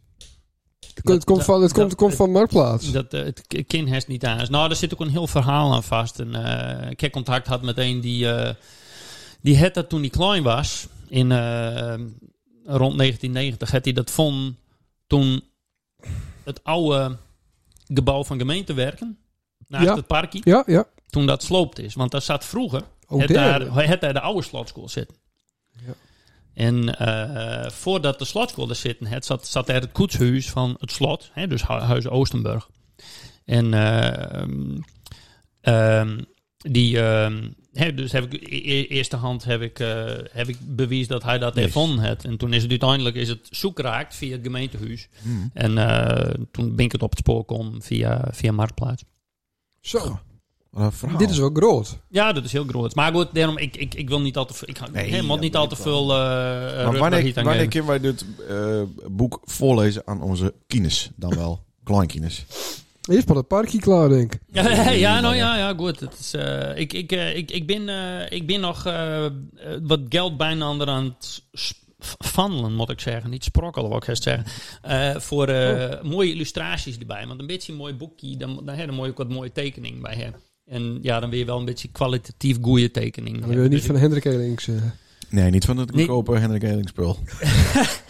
C: Het,
A: Dat-
C: komt,
A: dat-
C: van, het, komt,
A: dat-
C: het komt van Marktplaats.
A: Dat, eh, het k- kind heeft niet aan. is. Nou, daar zit ook een heel verhaal aan vast. En, eh, ik heb contact had met een die, eh, die het dat toen hij klein was. In, eh, rond 1990 had hij dat vond toen het oude gebouw van gemeente werken. Naast
C: Ja.
A: het parkje.
C: ja, ja.
A: Toen dat sloopt is. Want daar zat vroeger
C: Ook
A: het, daar,
C: daar.
A: het daar de oude slotschool zitten.
C: Oh, Ja.
A: En eh, voordat de slotschool er zitten, het zat, zat daar het koetshuis van het slot, hè, dus Hu- Huis Oostenburg. En eh, ehm, ehm, die, ehm, hè, dus heb ik, e- e- eerste hand heb ik, eh, heb ik bewezen dat hij dat
B: Yes.
A: ervan had. En toen is het uiteindelijk is het zoekraakt via het gemeentehuis. En eh, toen ben ik het op het spoor kom via, via Marktplaats.
C: Zo,
B: Wat een verhaal.
C: dit is wel groot.
A: Ja, dat is heel groot. Maar goed, daarom, ik, ik, ik wil niet al te veel. Ik ga
B: Nee,
A: helemaal
B: dat
A: niet al
B: moet
A: te
B: wel.
A: veel. eh, eh,
B: maar
A: rug naar
B: wanneer,
A: hier aan
B: wanneer
A: geven.
B: kunnen wij dit eh, boek voorlezen aan onze kines? Dan wel kleinkines.
C: Eerst maar het parkje klaar, denk ik.
A: Ja, ja, nou ja, ja goed. Het is, eh, ik, ik, eh, ik, ik, ben, eh, ik ben nog eh, eh, wat geld bijna aan het sp- vandelen, moet ik zeggen. Niet sprokkelen, wat ik eerst zeggen. Eh, voor eh,
B: Oh.
A: mooie illustraties erbij. Want een beetje een mooi boekje, dan, dan heb je mooi ook wat mooie tekening bij hebben. En ja, dan wil je wel een beetje kwalitatief goede tekening.
C: Dan wil je
A: hebben.
C: niet
A: Dus
C: van Hendrik Elings eh, zeggen.
B: Nee, niet van het
A: Nee.
B: goedkope Hendrik Elingspul.
A: ik-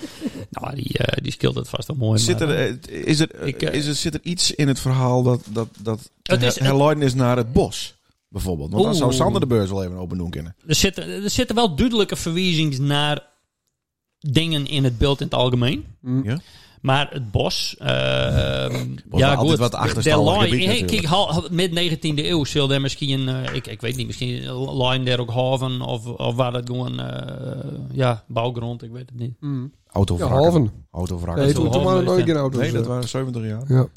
A: nou, die, eh die skillt het vast wel mooi.
B: Zit
A: maar,
B: er,
A: eh,
B: eh, is er, eh,
A: ik, eh,
B: is er, zit er iets in het verhaal dat, dat, dat
A: Het is-
B: her- herleiden is naar het bos? Bijvoorbeeld. Want dan zou
A: Oeh.
B: Sander de beurs wel even open doen kunnen.
A: er, zitten, er zitten wel duidelijke verwijzingen naar dingen in het beeld in het algemeen.
C: Hm.
B: Ja.
A: Maar het bos. ehm,
B: wel
A: ja,
B: altijd
A: goed.
B: wat achterstallig
A: de Line-
B: gebied
A: hey,
B: natuurlijk.
A: Kijk, hal- hal- mid 19e eeuw zal daar misschien. eh, ik, ik weet niet, misschien een Line daar ook haven. Of, of waar dat gewoon. eh, ja, bouwgrond, ik weet het niet.
C: Hm. Ja,
B: Autovrakken.
C: halven.
B: Autovrakken.
C: Nee,
A: wel
C: toen, toen
A: halven
C: waren het
A: geweest,
C: nooit geen auto's.
B: Nee, dat
C: eh.
B: waren 70 jaar.
C: Ja.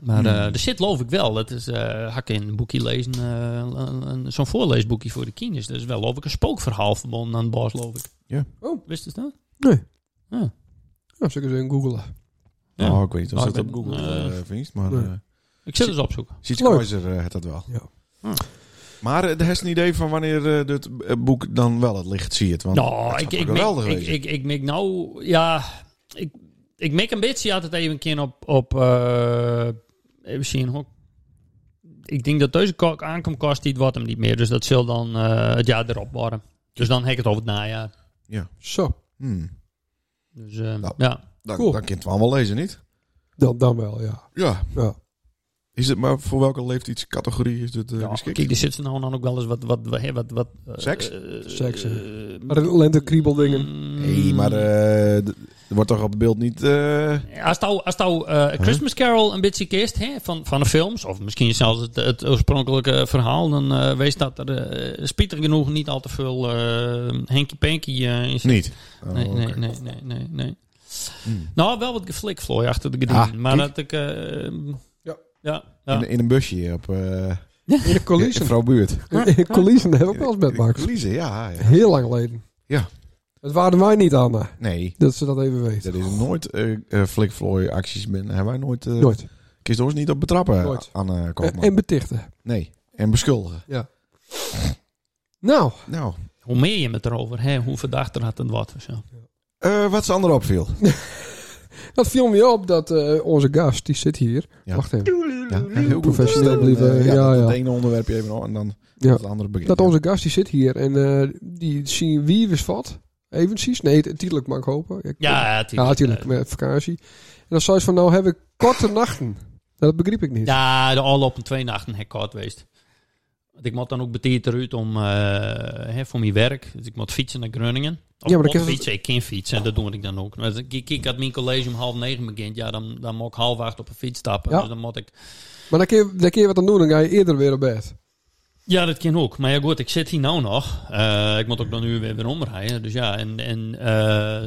A: Maar eh,
B: Mm.
A: er zit, geloof ik wel. Dat is. eh hak in een boekje lezen. eh, een- een- Zo'n voorleesboekje voor de kinders. Dat is wel, geloof ik, een spookverhaal verbonden aan het bos, geloof ik.
B: Ja.
C: Oh.
A: Wist je dat?
C: Nee.
A: Ja.
C: Nou, zullen we eens even googelen.
A: Ja.
B: Oh, ik weet niet of
A: Oh,
B: ze dat
A: ik
B: op
A: ben-
B: Google eh vindt, maar
C: Nee.
B: eh
A: Ik zit dus eens opzoeken.
B: Siets
C: Leuk.
B: Keizer eh, had dat wel.
C: Ja.
A: Hm.
B: Maar eh, er is een idee van wanneer eh, dit eh, boek dan wel het licht ziet. Want
A: Nou,
B: het
A: ik,
B: zou
A: ik,
B: toch geweldig
A: mik- ik,
B: wezen?
A: ik, ik mik nou, ja, ik, ik mik een beetje altijd even een keer op, op eh even zien, hoor. ik denk dat deze kok aankomt kost die het wat hem niet meer, dus dat zal dan eh, het jaar erop worden. Dus dan heb ik het over het najaar.
C: Zo,
B: Hmm.
A: Dus eh,
B: Nou.
A: ja,
B: Dan,
C: Cool.
B: dan kan je het wel wel lezen, niet?
C: dan, dan wel, ja.
B: Ja.
C: Ja.
B: Is het maar voor welke leeftijdscategorie is dit eh
A: ja
B: geschikt?
A: kijk, er zit nou dan ook wel eens wat, wat, wat, hè, wat, wat eh,
B: Seks?
A: eh,
C: Seks, hè.
A: eh,
C: Lente kriebeldingen.
A: mm,
B: Nee, maar eh, d- er wordt toch op het beeld niet... eh,
A: Als nou, als nou eh, A Christmas Carol een beetje kist hè, van, van de films, of misschien zelfs het, het oorspronkelijke verhaal, dan eh, wees dat er eh, spietig genoeg niet al te veel eh henkie penkie eh, in zit.
B: Niet. Oh,
A: Nee, nee,
B: oké.
A: nee, nee, nee, nee.
B: Hmm.
A: Nou, wel wat geflikvlooi achter de gediend,
B: Ah,
A: maar
B: kijk.
A: dat ik... eh,
C: Ja.
A: Ja, ja.
B: In, in een busje op eh
C: In de coulissen.
B: Vrouw Buurt.
C: In de coulissen heb ik wel eens met Max.
B: Lise, ja, ja.
C: Heel lang geleden.
B: Ja.
C: Het waren wij niet, Anna.
B: Nee,
C: Dat ze dat even weet.
B: dat is nooit eh eh, flikvlooi acties. Ben, hebben wij nooit... eh
C: Nooit.
B: Kist ons niet op betrappen
C: Nooit.
B: aan eh
C: En,
B: Koopman.
C: en betichten.
B: nee, en beschuldigen.
C: Nou,
B: Nou,
A: Hoe meer je het erover hè, hoe verdachter had het wat. of Zo.
B: eh, wat Sander opviel.
C: dat viel me op dat eh, onze gast, die zit hier.
B: Ja.
C: Wacht even.
B: Ja, heel
C: Professioneel blijven,
B: Eh,
C: ja,
B: dat
C: ja.
B: Het ene onderwerp je even al en dan
C: Ja.
B: het andere begin.
C: Dat onze gast, die zit hier. En eh, die zien wie was wat. Evensies. Nee, het- tijdelijk mag ik hopen. Ik-
A: Ja,
C: Ja,
A: natuurlijk.
C: natuurlijk, met vakantie. En dan zei ze van, nou heb ik korte nachten. Dat begreep ik niet.
A: Ja, de afgelopen twee nachten heb ik koud geweest. Want ik moet dan ook betiert eruit om, eh, hè, voor mijn werk. Dus ik moet fietsen naar Groningen. Of
C: Ja, maar dan
A: ik
C: kun je-
A: fietsen. Ik kan fietsen, en dat doe ik dan ook. Maar als ik, ik, ik had mijn college om half negen begint. Ja, dan, dan moet ik half acht op een fiets stappen.
C: Ja.
A: Dus dan moet ik...
C: Maar dan kun, je, dan kun je wat aan doen, dan ga je eerder weer op bed.
A: Ja, dat kan ook. Maar ja, goed, ik zit hier nou nog. Eh, ik moet ook dan nu weer, weer omrijden. Dus ja, en... en eh,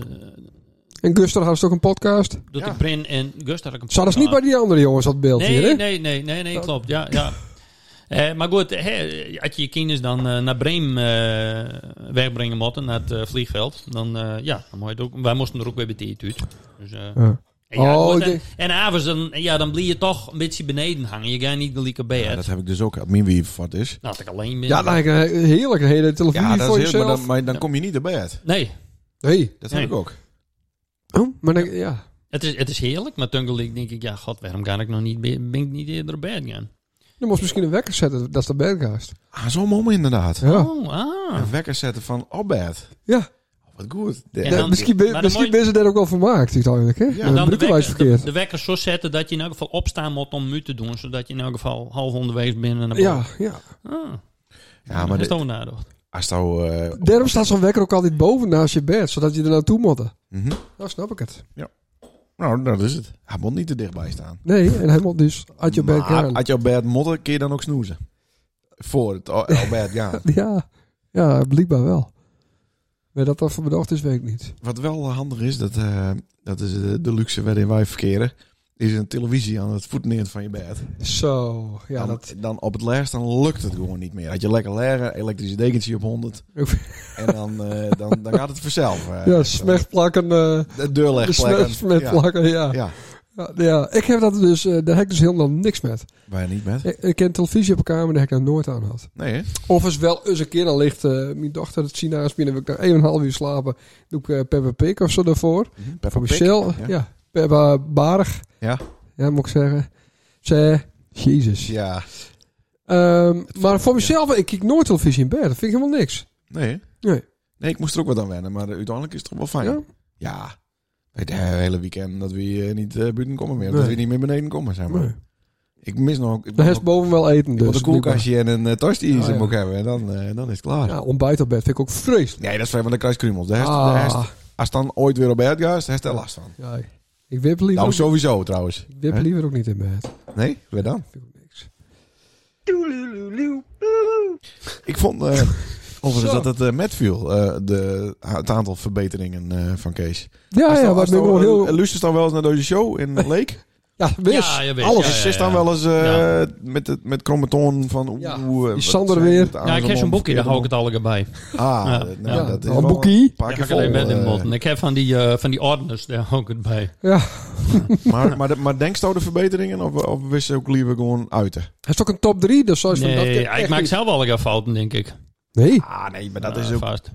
C: En Guster had ze ook een podcast.
A: dat
B: Ja.
A: ik Brin en Gust had ik een
C: Zaten ze niet bij die andere jongens dat beeld
A: Nee,
C: hier, hè?
A: nee, nee, nee,
C: Oh.
A: nee, klopt. Ja, ja. Eh, maar goed, hè, als je je kinderen dan eh, naar Bremen eh, wegbrengen moeten, naar het eh, vliegveld, dan, eh, ja, dan moet je het ook, wij moesten er ook bij betiert uit. Dus, eh,
C: Ja.
A: en ja,
C: Oh,
A: goed,
C: ik
A: en,
C: denk-
A: en avonds, dan, ja, dan blijf je toch een beetje beneden hangen. Je gaat niet gelijk op bed.
B: Ja, dat heb ik dus ook. Min wie wat is.
A: Nou, dat ik alleen ben.
C: Ja, dan heb ik een heerlijk een hele televisie
B: Ja,
C: voor
B: dat is heel,
C: jezelf.
B: maar dan, maar dan kom je niet naar bed.
A: Nee,
C: Nee.
B: Dat heb
A: Nee.
B: ik ook.
C: Oh, maar dan, ja.
A: het is, het is heerlijk, maar toen gelijk denk ik, ja, god, waarom ga ik nog niet, be- ben ik niet eerder op bed gaan?
C: Dan moest misschien een wekker zetten, dat is de bedgast.
B: Ah, zo'n moment inderdaad.
C: Ja.
A: Oh, ah.
B: Een wekker zetten van op bed. Oh,
C: Ja.
B: Wat goed.
A: En
C: Ja,
A: dan-
C: misschien
A: maar
C: ben,
A: dan
C: misschien
A: moet je-
C: ben ze daar ook wel van maakt, uiteindelijk, hè? Ja,
B: dan
C: dan
A: de,
C: gebruiken wij
A: wekker,
C: eens verkeerd.
A: de- de wekker zo zetten dat je in elk geval opstaan moet om mute te doen, zodat je in elk geval half onderwees bent en naar boven.
C: ja, ja.
A: Ah.
B: Ja, maar
A: dat is
B: de-
A: toch nadocht.
B: als nou... eh, op-
C: Daarom staat zo'n wekker ook altijd boven naast je bed, zodat je er naartoe moet.
B: Mhm.
C: Nou, snap ik het.
B: Nou, dat is het. Hij moet niet te dichtbij staan.
C: Nee, en hij moet dus uit je bed
B: Maar
C: gaan.
B: Uit jouw bed motten kun je dan ook snoezen. Voor het al al bed gaan.
C: Ja, ja, blijkbaar wel. Maar dat dat voor bedacht is, weet ik niet.
B: Wat wel handig is, dat, eh, dat is eh, de luxe waarin wij verkeren. Is een televisie aan het voetneer van je bed.
C: Zo, ja,
B: dan,
C: dat...
B: dan op het laatst dan lukt het gewoon niet meer. Had je lekker leren, elektrische dekentje op 100. en dan, eh, dan, dan gaat het vanzelf. eh.
C: Ja, smechtplakken, eh
B: De deur
C: de
B: leggen.
C: smet- smetplakken, ja.
B: Ja.
C: Ja, ja, ik heb dat dus, eh, daar heb ik dus helemaal niks met.
B: Wij niet met.
C: Ik, ik ken televisie op een kamer, daar heb ik nog nooit aan gehad.
B: Nee, hè?
C: Of eens wel eens een keer dan ligt eh, mijn dochter het China binnen, wil ik daar 1,5 uur slapen. Doe ik eh Peppa Pig of zo daarvoor.
B: Peppa
C: Van
B: Pig.
C: Mhm. Michel,
B: Ja.
C: ja. Peppa Barig.
B: Ja.
C: Ja, moet ik zeggen. Ze, jezus.
B: Ja.
C: Ehm, maar voor mezelf, ik kijk nooit televisie in bed. Dat vind ik helemaal niks.
B: Nee, hè?
C: Nee.
B: Nee, ik moest er ook wat aan wennen, maar eh, uiteindelijk is het toch wel fijn.
C: Ja?
B: Ja. Het hele weekend dat we eh, niet eh, buiten komen meer. Dat
C: Nee.
B: we niet meer beneden komen, zeg maar.
C: Nee.
B: Ik mis nog... Ik
C: De
B: wil
C: rest boven wel eten dus.
B: dus een koelkastje en een uh, toastie
C: Oh, Ja, ja.
B: moet ik hebben. En dan, eh, dan is het klaar.
C: Ja, ontbijt op bed vind ik ook vreselijk.
B: Nee, dat is fijn, want dan krijg je krummels. De rest, de rest-
C: Ah,
B: als het dan ooit weer op bed gaat, daar is er last van.
C: ja, ik wip liever,
B: Nou,
C: ook,
B: sowieso trouwens.
C: ik wip
B: Hè?
C: liever ook niet in bed.
B: Nee, weer dan.
C: Vind ik ook niks.
B: Ik vond eh overigens
C: Zo.
B: dat het eh, met viel, eh, de, het aantal verbeteringen eh, van Kees.
C: Ja, ja, wat ben ik wel heel...
B: Luister dan wel eens naar deze show in Leek?
C: Ja, wist.
A: Ja, je weet,
B: Alles
A: ja,
B: is
A: ja,
B: dan
A: ja.
B: wel eens eh,
A: Ja.
B: met, het, met kromme toon van... Oeh,
C: Ja,
B: eh, wat
C: die Sander
B: zijn
C: weer.
B: het aan
A: Ja, ik heb zo'n
B: mond,
A: boekje, daar hou ik
B: verkeerde
A: het allemaal bij.
B: mond. Ah,
A: Ja.
B: dat- nou,
C: Ja.
B: dat is
C: Een
B: wel
C: boekie.
B: Een paar
A: Ja,
B: keer
A: ik heb alleen
B: vol,
A: met in
B: eh.
A: botten. Ik heb van die, eh, van die ordners, daar hou ik het bij.
C: Ja.
B: maar, maar, maar denk je nou de verbeteringen of, of wist je ook liever gewoon uiten?
C: Hij is ook een top 3, dus zoals van dat
A: Nee,
C: kan
A: ja, ik
C: echt
A: maak
C: niet.
A: zelf wel een fouten, denk ik.
C: Nee.
B: Ah, nee, maar
A: Ja, Vast.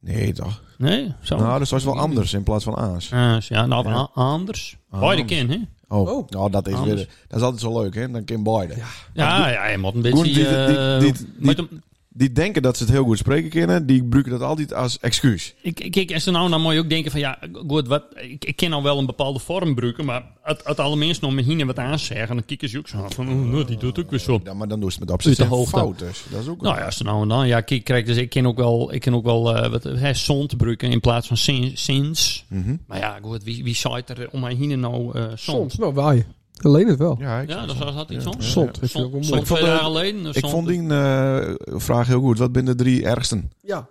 B: Nee, toch?
A: Nee, zo.
B: Nou, dat is wel anders in plaats van aans.
A: Ah, ja, nou,
B: Ja. Ah,
A: a- anders. Beide kin, hè?
B: Oh,
C: Oh.
B: nou, dat, is
A: Anders.
B: weer, dat is altijd zo leuk, hè? Dan Kim Biden.
A: Ja, ja, je moet een
B: Goed, die-
A: beetje... eh,
B: die- die- die-
A: met een-
B: Die denken dat ze het heel goed spreken kennen. Die gebruiken dat altijd als excuus.
A: Ik, kijk, en ze nou, dan moet je ook denken van ja, goed, wat, ik, ik ken al wel een bepaalde vorm gebruiken, maar het, het allerminst nog met hine wat aanzeggen, dan kieken ze ook zo aan van, oh, nou, die doet ook weer zo.
B: Ja, maar dan doen ze het met
A: Uit de
B: opzet
A: hoogte.
B: fout. Dus. Dat is ook
A: Nou ja, ze nou en dan, ja, kijk, kijk, dus ik ken ook wel, ik ken ook wel eh, wat, hè, zond gebruiken in plaats van sin- sinds.
B: Mhm.
A: Maar ja, goed, wie, wie zaait er om mij hine nou eh zond?
C: Soms. Nou, waar je. Alleen het wel.
B: Ja, ik,
A: Ja, dat had hij soms.
C: Zond,
A: Zond,
C: dat vind ik ook wel
A: zond,
C: mooi.
B: Ik vond,
A: twee
B: eh,
A: jaar geleden.
B: ik vond die eh, vraag heel goed. Wat zijn de drie ergsten?
C: Ja.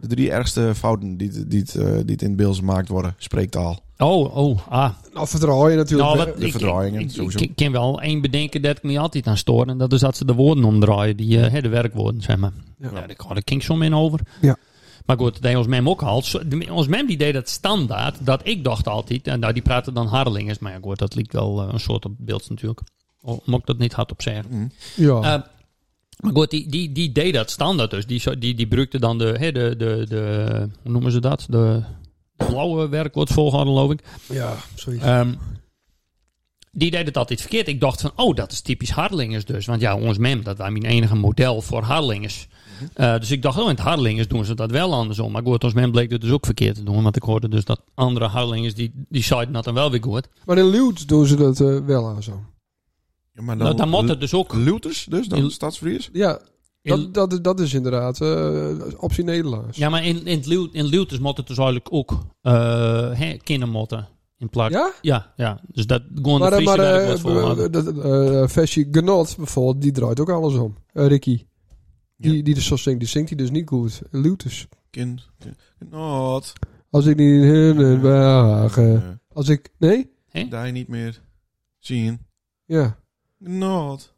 B: De drie ergste fouten die, het- die, het, eh, die het in het Beels gemaakt worden. Spreektaal.
A: Oh, oh, ah.
C: Nou, vertrouwen natuurlijk.
A: Nou,
C: hè.
A: wat,
B: de
A: ik,
B: verdraaiingen,
A: ik, ik,
B: sowieso.
A: ik ken wel één bedenken dat ik me altijd aan stoor. En dat is dat ze de woorden omdraaien, die eh, hè, de werkwoorden, zeg maar. Ja.
C: Ja.
A: daar kan ik ging zo min over.
C: Ja.
A: Maar goed, dat deed ons mem ook al. Zo- de- Ons mem die deed dat standaard, dat ik dacht altijd. En nou, die praten dan harlingers. Maar ja, goed, dat liep wel eh, een soort op beeld natuurlijk. Al Mocht ik dat niet hard op zeggen.
B: Mm.
C: Ja.
A: Eh, maar goed, die, die, die deed dat standaard dus. Die, zo- die, die brukte dan de, hè, de, de, de, hoe noemen ze dat? De blauwe werkwoordvolgorde, geloof ik.
C: ja, zoiets.
A: Ehm, die deed het altijd verkeerd. Ik dacht van, oh, dat is typisch Harlingers dus. Want ja, ons mem, dat was mijn enige model voor Harlingers.
C: Mhm.
A: Eh, dus ik dacht, oh, in het Harlingers doen ze dat wel andersom. Maar goed, ons mem bleek het dus ook verkeerd te doen. Want ik hoorde dus dat andere Harlingers, die, die zeiden dat dan wel weer goed.
C: maar in Lewd doen ze dat eh, wel aan zo.
B: Ja, maar
A: Nou, dan moet het dus ook.
B: Luters dus, dan
A: In-
B: stadsvries.
C: Ja,
A: In,
C: dat, dat, dat is inderdaad eh, optie Nederlands.
A: ja, maar in, in, het Leeuw- in Leeuwters moet het dus eigenlijk ook eh hè, kindermotten in plaats.
C: Ja?
A: Ja, ja. Dus dat gewoon
C: Maar,
A: de
C: eh, maar
A: Friese
C: eh,
A: werkwoord voor
C: eh, dat, eh, versie Genot bijvoorbeeld, die draait ook alles om. Eh, Ricky. Die, die dus zo zingt, die zingt hij dus niet goed. Lutus.
B: Kind. kind- Not.
C: Als ik niet in het wagen.
B: eh,
C: Als ik. Nee?
B: Daar je Eh, niet meer zien.
C: Ja.
B: Not.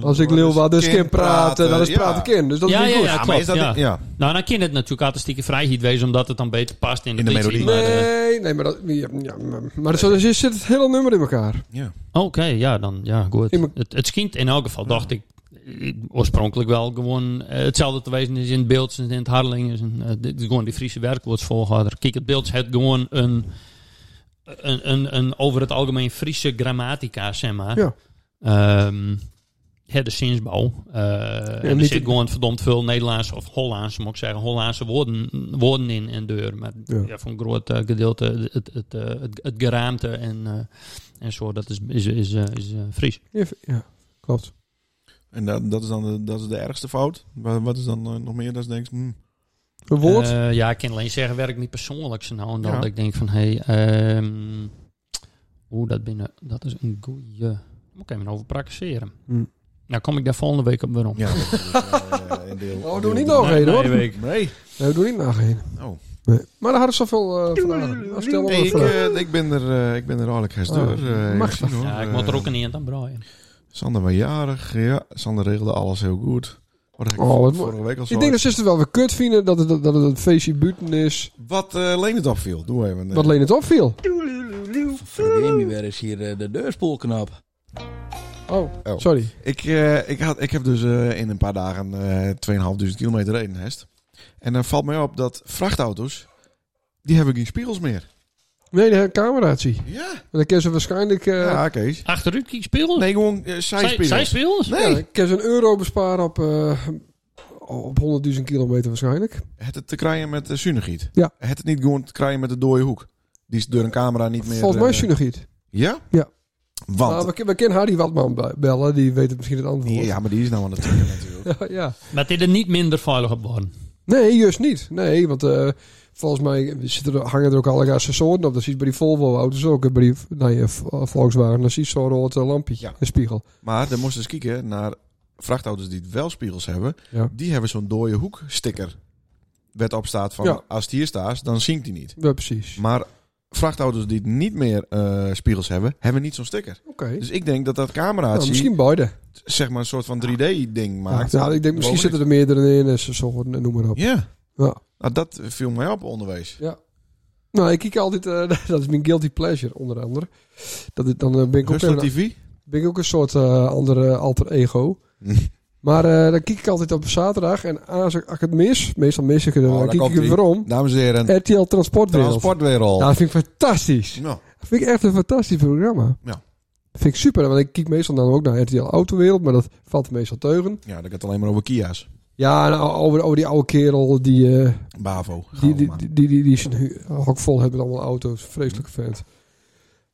C: Als ik Lil dus Wadus kan praten, eh, dan is praten kind. Dus dat
A: Ja,
C: is niet
A: ja,
C: goed.
A: ja.
B: Ja, maar is dat...
A: Klopt,
B: niet- Ja.
A: Nou, dan kan het natuurlijk artistieke vrijheid wezen, omdat het dan beter past in de,
B: In de
A: liedje.
B: melodie.
A: Maar, eh,
C: Nee, nee, maar dat. Ja, ja, maar- maar zo dus zit het hele nummer in elkaar.
B: ja.
A: Oké, ja, dan ja, goed.
C: In mijn-
A: Het, het schijnt in elk geval, dacht ik, eh, oorspronkelijk wel gewoon eh, hetzelfde te wezen is in het beeld, in het Harlingen. en, eh, dit is gewoon die Friese werkwoordsvolgorde. Kijk, het beeld heeft gewoon een, een, een, een over het algemeen Friese grammatica, zeg maar.
C: Ja.
A: Ehm, hè, de zinsbouw. Eh, en er
C: niet-
A: zit gewoon verdomd veel Nederlandse of Hollandse, moet ik zeggen, Hollandse woorden, woorden in en deur. Maar ja.
C: Ja.
A: voor een groot eh, gedeelte het, het, het, eh, het, het geraamte en... eh, en zo, dat is, is, is, eh, is eh, Fries.
C: Ja, Ja, klopt.
B: En dat, dat is dan de, dat is de ergste fout. Wat, wat is dan eh, nog meer dat je denkt... hmm,
C: Een woord.
A: Eh, ja, ik kan alleen zeggen, werk niet persoonlijk zo nou en dan.
B: Ja.
A: Dat ik denk van, hé, hey, ehm, oeh, dat binnen, dat is een goeie. Daar Moet ik even over praktiseren.
C: Hm.
A: Nou, kom ik daar volgende week op weer om.
B: Ja. dat is, eh, een deel-
C: Oh,
B: een
C: doe
B: deel-
C: niet nog
A: Nee,
C: heen hoor.
A: nee,
C: Nee,
A: week.
B: Nee.
C: we doen niet nog heen.
B: Oh.
C: Nee. Maar daar hadden ze zoveel eh vragen. Nou, Stel maar
B: Nee,
C: wat
B: ik,
C: vragen.
B: eh, ik ben er, eh, ik ben er aardig gestuurd.
C: Oh,
B: eh,
C: mag
B: ik zie
C: dat?
B: hoor,
A: Ja, ik moet er
B: eh,
A: ook een eind aan braaien.
B: Sander was jarig. Ja, Sander regelde alles heel goed. Wat heb ik
C: Oh, wat
B: vorige week al zo
C: Ik denk dat ze het wel weer kut vinden dat het, dat het een feestje buiten is.
B: Wat eh Leen het opviel. Doe even. eh,
C: Wat Leen het opviel.
G: Vergeet me weer eens hier eh, de deurspolknop.
C: Oh,
B: Oh.
C: sorry.
B: Ik, eh, ik, had, ik heb dus eh, in een paar dagen eh 2.500 kilometer reden, Hest. En dan valt mij op dat vrachtauto's, die hebben geen spiegels meer.
C: Nee, de cameratie.
B: Ja?
C: Want dan kunnen ze waarschijnlijk... eh
B: Ja, Kees.
A: Achteruit speel?
B: Nee, gewoon eh,
A: zij,
B: zijspiegels.
A: zij speels?
C: ja,
B: Nee.
C: dan kunnen ze een euro besparen op, eh, op 100.000 kilometer waarschijnlijk.
B: Het het te krijgen met de zuinigiet.
C: Ja.
B: Het het niet gewoon te krijgen met de dode hoek. Die is door een camera niet meer...
C: Volgens mij is
B: eh,
C: je nog iets.
B: Ja?
C: Ja. Nou, Maar
B: Want...
C: we, we kunnen Harry Watman be- bellen, die weet het misschien het antwoord.
B: Ja, maar die is nou aan het trekken natuurlijk.
C: Ja, ja.
A: Maar dit is er niet minder veilig op worden.
C: Nee, juist niet. Nee, want eh, volgens mij zitten er, hangen er ook allerlei accessoren op. Dat zie je bij die Volvo-auto's ook. eh, Bij die nee, eh, V- eh, Volkswagen, dan zie je zo'n rood eh, lampje.
B: Ja.
C: Een spiegel.
B: Maar dan moest je eens kijken naar vrachtauto's die wel spiegels hebben.
C: Ja.
B: Die hebben zo'n dode hoeksticker. Wet op staat van
C: Ja.
B: als het hier staat, dan zinkt die niet.
C: Ja, precies.
B: Maar vrachtauto's die niet meer eh, spiegels hebben, hebben niet zo'n sticker.
C: Oké.
B: Dus ik denk dat dat
C: Nou,
B: cameraatje
C: misschien beide.
B: zeg maar een soort van 3D-ding maakt.
C: ja, nou, ik denk misschien
B: Boven
C: zitten er meerdere in en zo, noem maar op.
B: is. Ja.
C: Ja.
B: Nou, dat viel mij op onderwijs.
C: Nou, ik kijk altijd, eh, dat is mijn guilty pleasure onder andere. Dat, is- dan eh, ben, ik ook
B: Hustler
C: een,
B: TV?
C: ben ik ook een soort eh, andere alter ego. Maar eh, dan kijk ik altijd op zaterdag en als ik, als ik het mis, meestal mis ik het,
B: Oh,
C: dan
B: daar
C: kijk ik
B: komt-ie.
C: het weer om.
B: Dames en heren,
C: RTL Transportwereld.
B: transportwereld.
C: Ja, dat vind ik fantastisch.
B: Nou,
C: Dat vind ik echt een fantastisch programma.
B: Ja.
C: Dat vind ik super, want ik kijk meestal dan ook naar RTL Autowereld, maar dat valt meestal teugen.
B: ja, dat gaat het alleen maar over Kia's.
C: Ja, en o- over, over die oude kerel die, eh,
B: Bavo. gaan
C: die,
B: we
C: die,
B: maar.
C: die, die, die, die zijn hu- hok vol heeft met allemaal auto's. Vreselijke vent.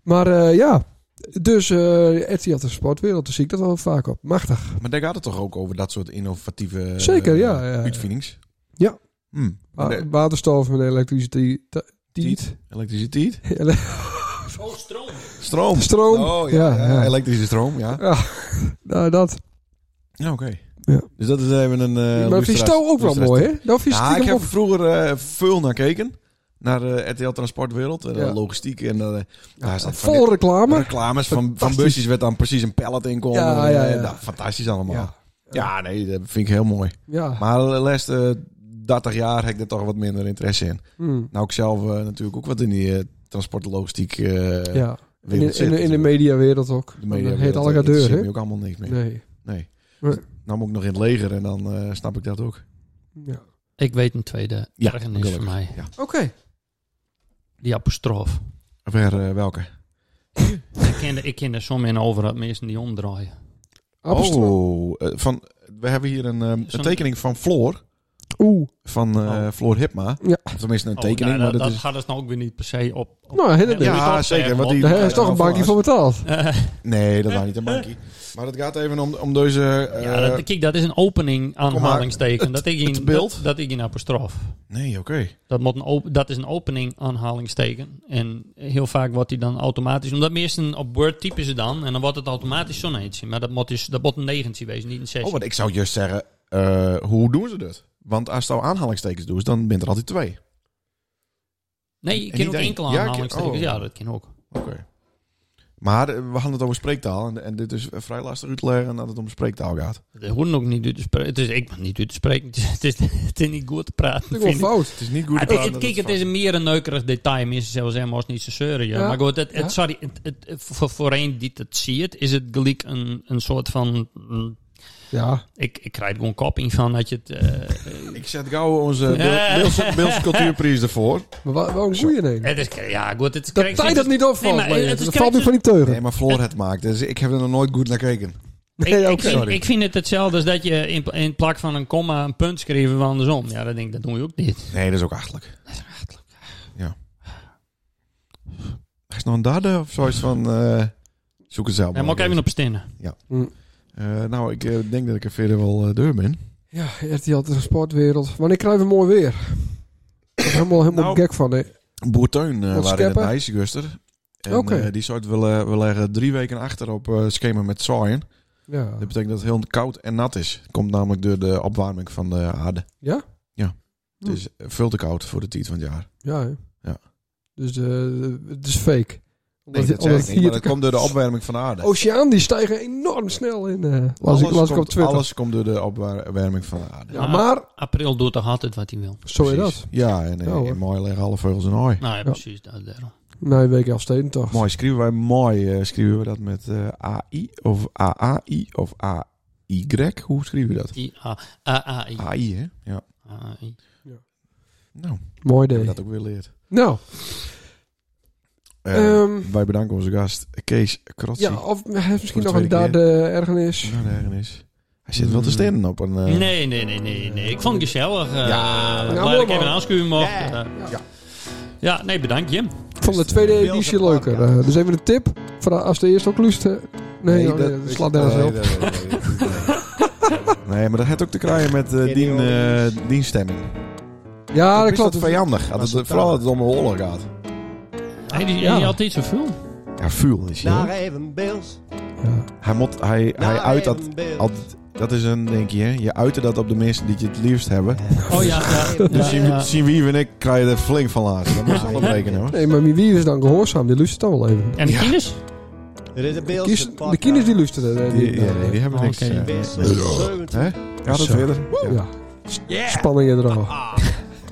C: Maar eh, ja, dus eh RTL Transportwereld, daar zie ik dat wel vaak op. Machtig.
B: Maar daar gaat het toch ook over dat soort innovatieve
C: Zeker, ja,
B: eh,
C: ja, ja.
B: uitvindings?
C: Ja. Ah.
B: Hm.
C: Wa-
B: Nee,
C: Waterstof en elektriciteit.
B: Tiet. Elektriciteit?
A: Oh, stroom.
B: Stroom.
C: Stroom.
B: Oh ja,
C: Ja,
B: ja, Eh,
C: ja.
B: elektrische stroom, ja.
C: Nou, dat.
B: Ja, oké.
C: Ja.
B: Dus dat is even een... eh
C: maar vind je Sto ook wel mooi, hè? Dat vind je
B: Ja, ik
C: stiekem
B: heb
C: ook
B: vroeger eh, veel naar gekeken. Naar eh, RTL Transportwereld. en
C: Ja.
B: Logistiek en... eh, daar staat van
C: vol
B: dit-
C: reclame.
B: reclames van, van
C: Fantastisch.
B: busjes werd dan precies een pallet in kon.
C: Ja,
B: en, eh,
C: ja, ja.
B: nou, fantastisch allemaal.
C: Ja.
B: Ja. nee, dat vind ik heel mooi.
C: Ja.
B: Maar de laatste 30 jaar heb ik er toch wat minder interesse in.
C: Hmm.
B: Nou, ik zelf eh, natuurlijk ook wat in die eh, transport en logistiek eh, wereld
C: ja. In, de- in,
B: zit.
C: de- in de mediawereld ook.
B: De mediawereld,
C: heet
B: eh,
C: alle deur,
B: interesseert
C: hè?
B: me ook allemaal niks meer. Nee.
C: Nee.
B: Nou moet ik nog in het leger en dan eh, snap ik dat ook.
C: Ja.
A: Ik weet een tweede
B: Ja,
A: ergernis voor
B: gelukkig.
A: mij.
C: Oké.
A: Die apostroof.
B: Waar, eh, welke?
A: ik ken, er- ik ken er soms in over dat mensen die omdraaien.
C: Appelstroom.
B: Oh,
C: nou?
B: eh, van, we hebben hier een, ehm,
A: Zo'n-
B: een tekening van Floor.
C: Oeh.
B: Van eh
A: Oh.
B: Floor Hipma.
C: Ja.
B: Of tenminste een
A: Oh,
B: tekening.
A: nou, dat
B: maar dat
A: dat
B: is,
A: gaat dus nou ook weer niet per se op. op
C: Nou, helemaal
A: Heel
C: niet.
A: goed
B: Ja,
A: op,
B: zeker,
A: eh,
B: want die-
C: Daar
B: Ja,
C: is toch een
B: dan
C: bankje
B: vast.
C: voor betaald.
A: Eh,
B: nee, dat was niet een bankie. Maar het gaat even om, om deze... eh,
A: ja, dat, kijk, dat is een opening aanhalingsteken. Dat ik
B: het
A: in,
B: beeld.
A: dat, dat ik in apostroof.
B: Nee, oké.
A: Dat, moet een op- dat is een opening aanhalingsteken. En heel vaak wordt die dan automatisch... Omdat meesten op Word typen ze dan. En dan wordt het automatisch zo'n eentje. Maar dat moet, dus, dat moet een negentje wezen, niet een
B: Oh,
A: zesje.
B: want ik zou juist zeggen, eh, hoe doen ze dat? Want als je aanhalingstekens doet, dan bent er altijd twee.
A: nee,
B: en
A: je kan ook
B: niet één.
A: enkele
B: Ja, ik-
A: aanhalingstekens.
B: oh.
A: Ja, dat kan ook.
B: Oké. Maar eh, we hadden het over spreektaal. En, en dit is vrij lastig uit te leggen dat het om spreektaal gaat.
A: Het hoort ook niet uit te spreken. Het is, ik mag niet uit te spreken. Het is, het is, het is niet goed te praten.
C: Dat
A: vind
C: is wel
A: ik.
C: fout.
B: Het is niet goed.
A: Ah, het-
B: te praten
A: het-
B: dat
A: kijk, het
B: fout
A: is een meer een neukerig detail. Mensen zelfs helemaal niet zo zeuren. Ja.
C: Ja.
A: Maar goed, het, het,
C: Ja.
A: sorry, het, het- voor, voor een die het ziet, is het gelijk een, een soort van... mm,
C: Ja.
A: Ik, ik krijg er gewoon koping van dat je het... eh,
B: Ik zet gauw onze Bil- Bilse- Bilse cultuurprijs ervoor.
C: Maar wa- wel een goeie een.
A: Het is, ja, goed. Eh, Het
C: Dat tijd dat niet opvalt.
A: Nee, maar
C: maar,
A: het is
C: dat valt me
A: krijgt-
C: van die teugen.
B: Nee, maar Floor het maakt. Dus ik heb er nog nooit goed naar gekeken.
A: Ik,
C: Nee,
A: ik
C: ook
A: vind,
B: sorry.
A: ik vind het hetzelfde als dat je in, in plak van een komma een punt schrijven van andersom. Ja, dat denk ik, dat doen we ook niet.
B: Nee, dat is ook achterlijk. Ja. Hij is nog een derde of zoiets van... eh, zoek het zelf
A: Ja, maar ook even op stinnen.
B: Eh, nou, ik eh, denk dat ik er verder wel eh, deur ben.
C: Ja, RTL Transportwereld. Wanneer krijgen we mooi weer? Ik ben helemaal, helemaal
B: Nou,
C: gek van, hè.
B: Boerteun eh waren
C: Wat
B: in het
C: scheppen?
B: IJsguster. En
C: Oké.
B: eh, die soort willen we leggen drie weken achter op eh, schema met zaaien.
C: Ah. Ja.
B: Dat betekent dat het heel koud en nat is. Komt namelijk door de opwarming van de aarde.
C: Ja?
B: Ja. Het
C: Hm.
B: is veel te koud voor de tijd van het jaar.
C: Ja, hè.
B: Ja.
C: Dus eh, het is fake.
B: Nee, dat
C: Omdat-
B: zeg
C: omdat
B: ik niet, maar
C: hier
B: dat
C: te-
B: komt door de opwarming van de aarde.
C: De oceaan die stijgen enorm snel in. eh las ik, las ik op
B: komt,
C: Twitter.
B: alles komt door de opwarming van de aarde.
C: Ja, maar
A: April doet toch altijd wat hij wil.
C: zo is dat.
B: Precies. Ja, en
C: Ja,
B: eh
C: hoor.
B: in mooi liggen alle vogels in hooi.
A: Nou ja,
C: Ja.
A: precies. Dat, daarom.
C: Na een week Elfstedentocht.
B: Mooi schrijven wij, mooi eh, schrijven we dat met eh, AI of AAI of AY. Hoe schrijven we dat?
A: I, A, A, A, I.
B: AI, hè? Ja.
A: A, I.
B: Nou, hebben
C: Mooi
B: we
C: idee.
B: dat ook weer leerd.
C: Nou,
B: Eh,
C: Ehm,
B: wij bedanken onze gast Kees Krotsi.
C: ja, of hij heeft
B: Voor
C: misschien nog
B: de
C: een
B: tweede
C: derde ergernis.
B: Nou, nergens is. Hij zit wel te stenen op een... eh,
A: Nee, nee, nee, nee, nee. Ik vond het gezellig. eh ja,
C: mooi,
A: blij dat ik even
C: man.
A: een aanschuwing mocht. eh. Ja.
B: Ja.
A: nee, bedankt Jim.
C: Ik vond de tweede editie leuker. Eh, dus even een tip. Voor de- als de eerste ook lust. eh, Nee, oh, nee, dat slaat nergens
B: nee,
C: op.
B: nee, nee, nee, nee. Nee, maar dat had ook te krijgen met eh die, eh, die stemming.
C: Ja, Ah, dat
B: is dat
C: klopt.
B: vijandig. Als het, vooral als het om een oorlog gaat.
A: Hij die,
C: Ja.
A: die had iets zoveel.
B: Ja, vuur is hij. hoor.
D: Naar even Bills.
C: Ja.
B: Hij, moet, hij, hij
D: Naar
B: uit dat...
D: even Bills.
B: altijd- dat is een dingetje, hè. Je uitte dat op de mensen die je het liefst hebben.
A: Oh ja, ja.
B: Dus zien,
A: ja.
B: zien wie en ik krijg je er flink van laten. Dat moet je wel rekenen, hoor.
C: Nee, maar wie is dan gehoorzaam? Die luistert dan wel even.
A: En
B: Ja.
A: Kines?
D: Er is een Bills.
C: Kies, de kinders die luisteren. eh,
B: Die, ja,
C: nou,
B: nee, die hebben niks.
A: Oké.
B: eh, hè? Ja, dat
C: Zo.
B: verder. Ja.
C: Oh, ja. Spanning in de
B: Ah.
C: raam.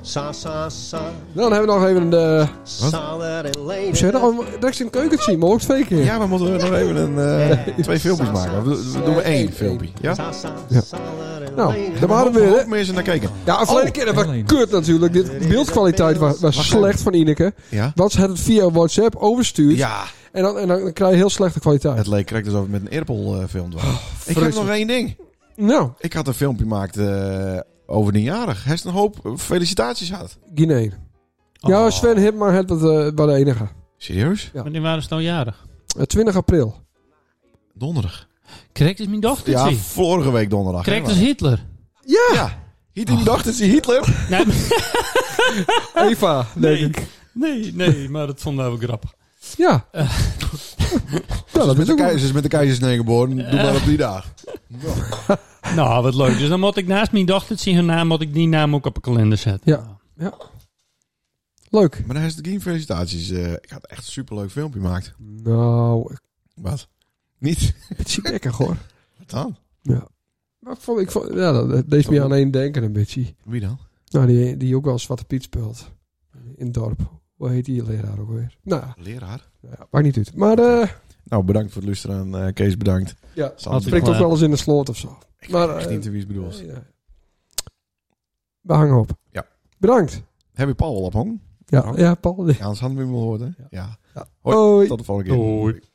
D: Sa, sa, sa.
C: Dan hebben we nog even de...
D: Sa, daar en
C: Hoe zeg je dat? Oh, rechts in de keuken zien, maar ook twee keer.
B: Ja, we moeten nog even een, eh, twee filmpjes maken. We, we doen we één
D: Eén.
B: filmpje. Ja?
D: Sa, sa,
C: Ja.
D: sa, daar en
C: Nou,
D: leden.
C: daar waren we
B: Een
C: weer. hè?
B: hoop mensen naar kijken.
C: Ja, de
B: Oh.
C: verleden keer dat was kut natuurlijk. De beeldkwaliteit was, was slecht van Ineke.
B: Ja?
C: Wat ze had het via WhatsApp overstuurd.
B: Ja,
C: En, dan, en dan krijg je heel slechte kwaliteit.
B: het leek correct alsof het met een eerpel eh filmd was.
C: Oh,
B: ik heb nog één ding.
C: Nou,
B: Ik had een filmpje gemaakt eh, over een jarig. Hij heeft een hoop felicitaties gehad.
C: Guinea. Ja, Sven Hipma had het eh, bij de enige.
B: Serieus?
A: Wanneer waren ze nou jarig?
C: Eh, 20 april.
B: Donderdag.
A: Correct is mijn dochter.
B: Ja,
A: Ja,
B: vorige week donderdag.
A: Correct
B: hè,
A: is Hitler.
C: Ja,
B: maar- Ja. Hitler dacht dat ze Hitler.
A: Nee,
C: Eva, denk ik.
A: nee, nee, maar dat vonden we wel grappig.
C: Ja. ja, dat
B: Met
C: is
B: de
C: ook wel-
B: keizer is met de keizersnee geboren. Doe maar op die dag.
A: Nou, wat leuk. Dus dan moet ik naast mijn dochter zien hun naam, moet ik die naam ook op een kalender zetten.
C: Ja. ja. Leuk.
B: Maar hij heeft geen felicitaties. eh, ik had echt een superleuk filmpje gemaakt.
C: Nou,
B: Wat? Niet?
C: beetje lekker hoor.
B: Wat dan?
C: Ja. Maar ik vond, ik vond, ja, dat deed me aan één denken een beetje.
B: Wie dan?
C: Nou, die, die ook wel Zwarte Piet speelt. In het dorp. Hoe heet die leraar ook weer? Nou,
B: Leraar.
C: ja, maakt niet uit. Maar eh
B: Nou, bedankt voor het luisteren. En, eh, Kees, bedankt.
C: ja,
B: Sander,
A: Altijd
C: spreekt
A: klaar.
C: ook wel eens in de sloot of zo. Maar,
B: Ik
C: eh,
B: wist niet wie het bedoelt.
C: ja. We hangen op.
B: Ja.
C: Bedankt.
B: Heb je Paul al ophangen?
C: Ja,
B: Bedankt.
C: ja Paul.
B: Ja, anders hadden we hem wel gehoord, hè? Ja. Hoi.
C: Hoi.
B: Tot de volgende keer.
A: Doei.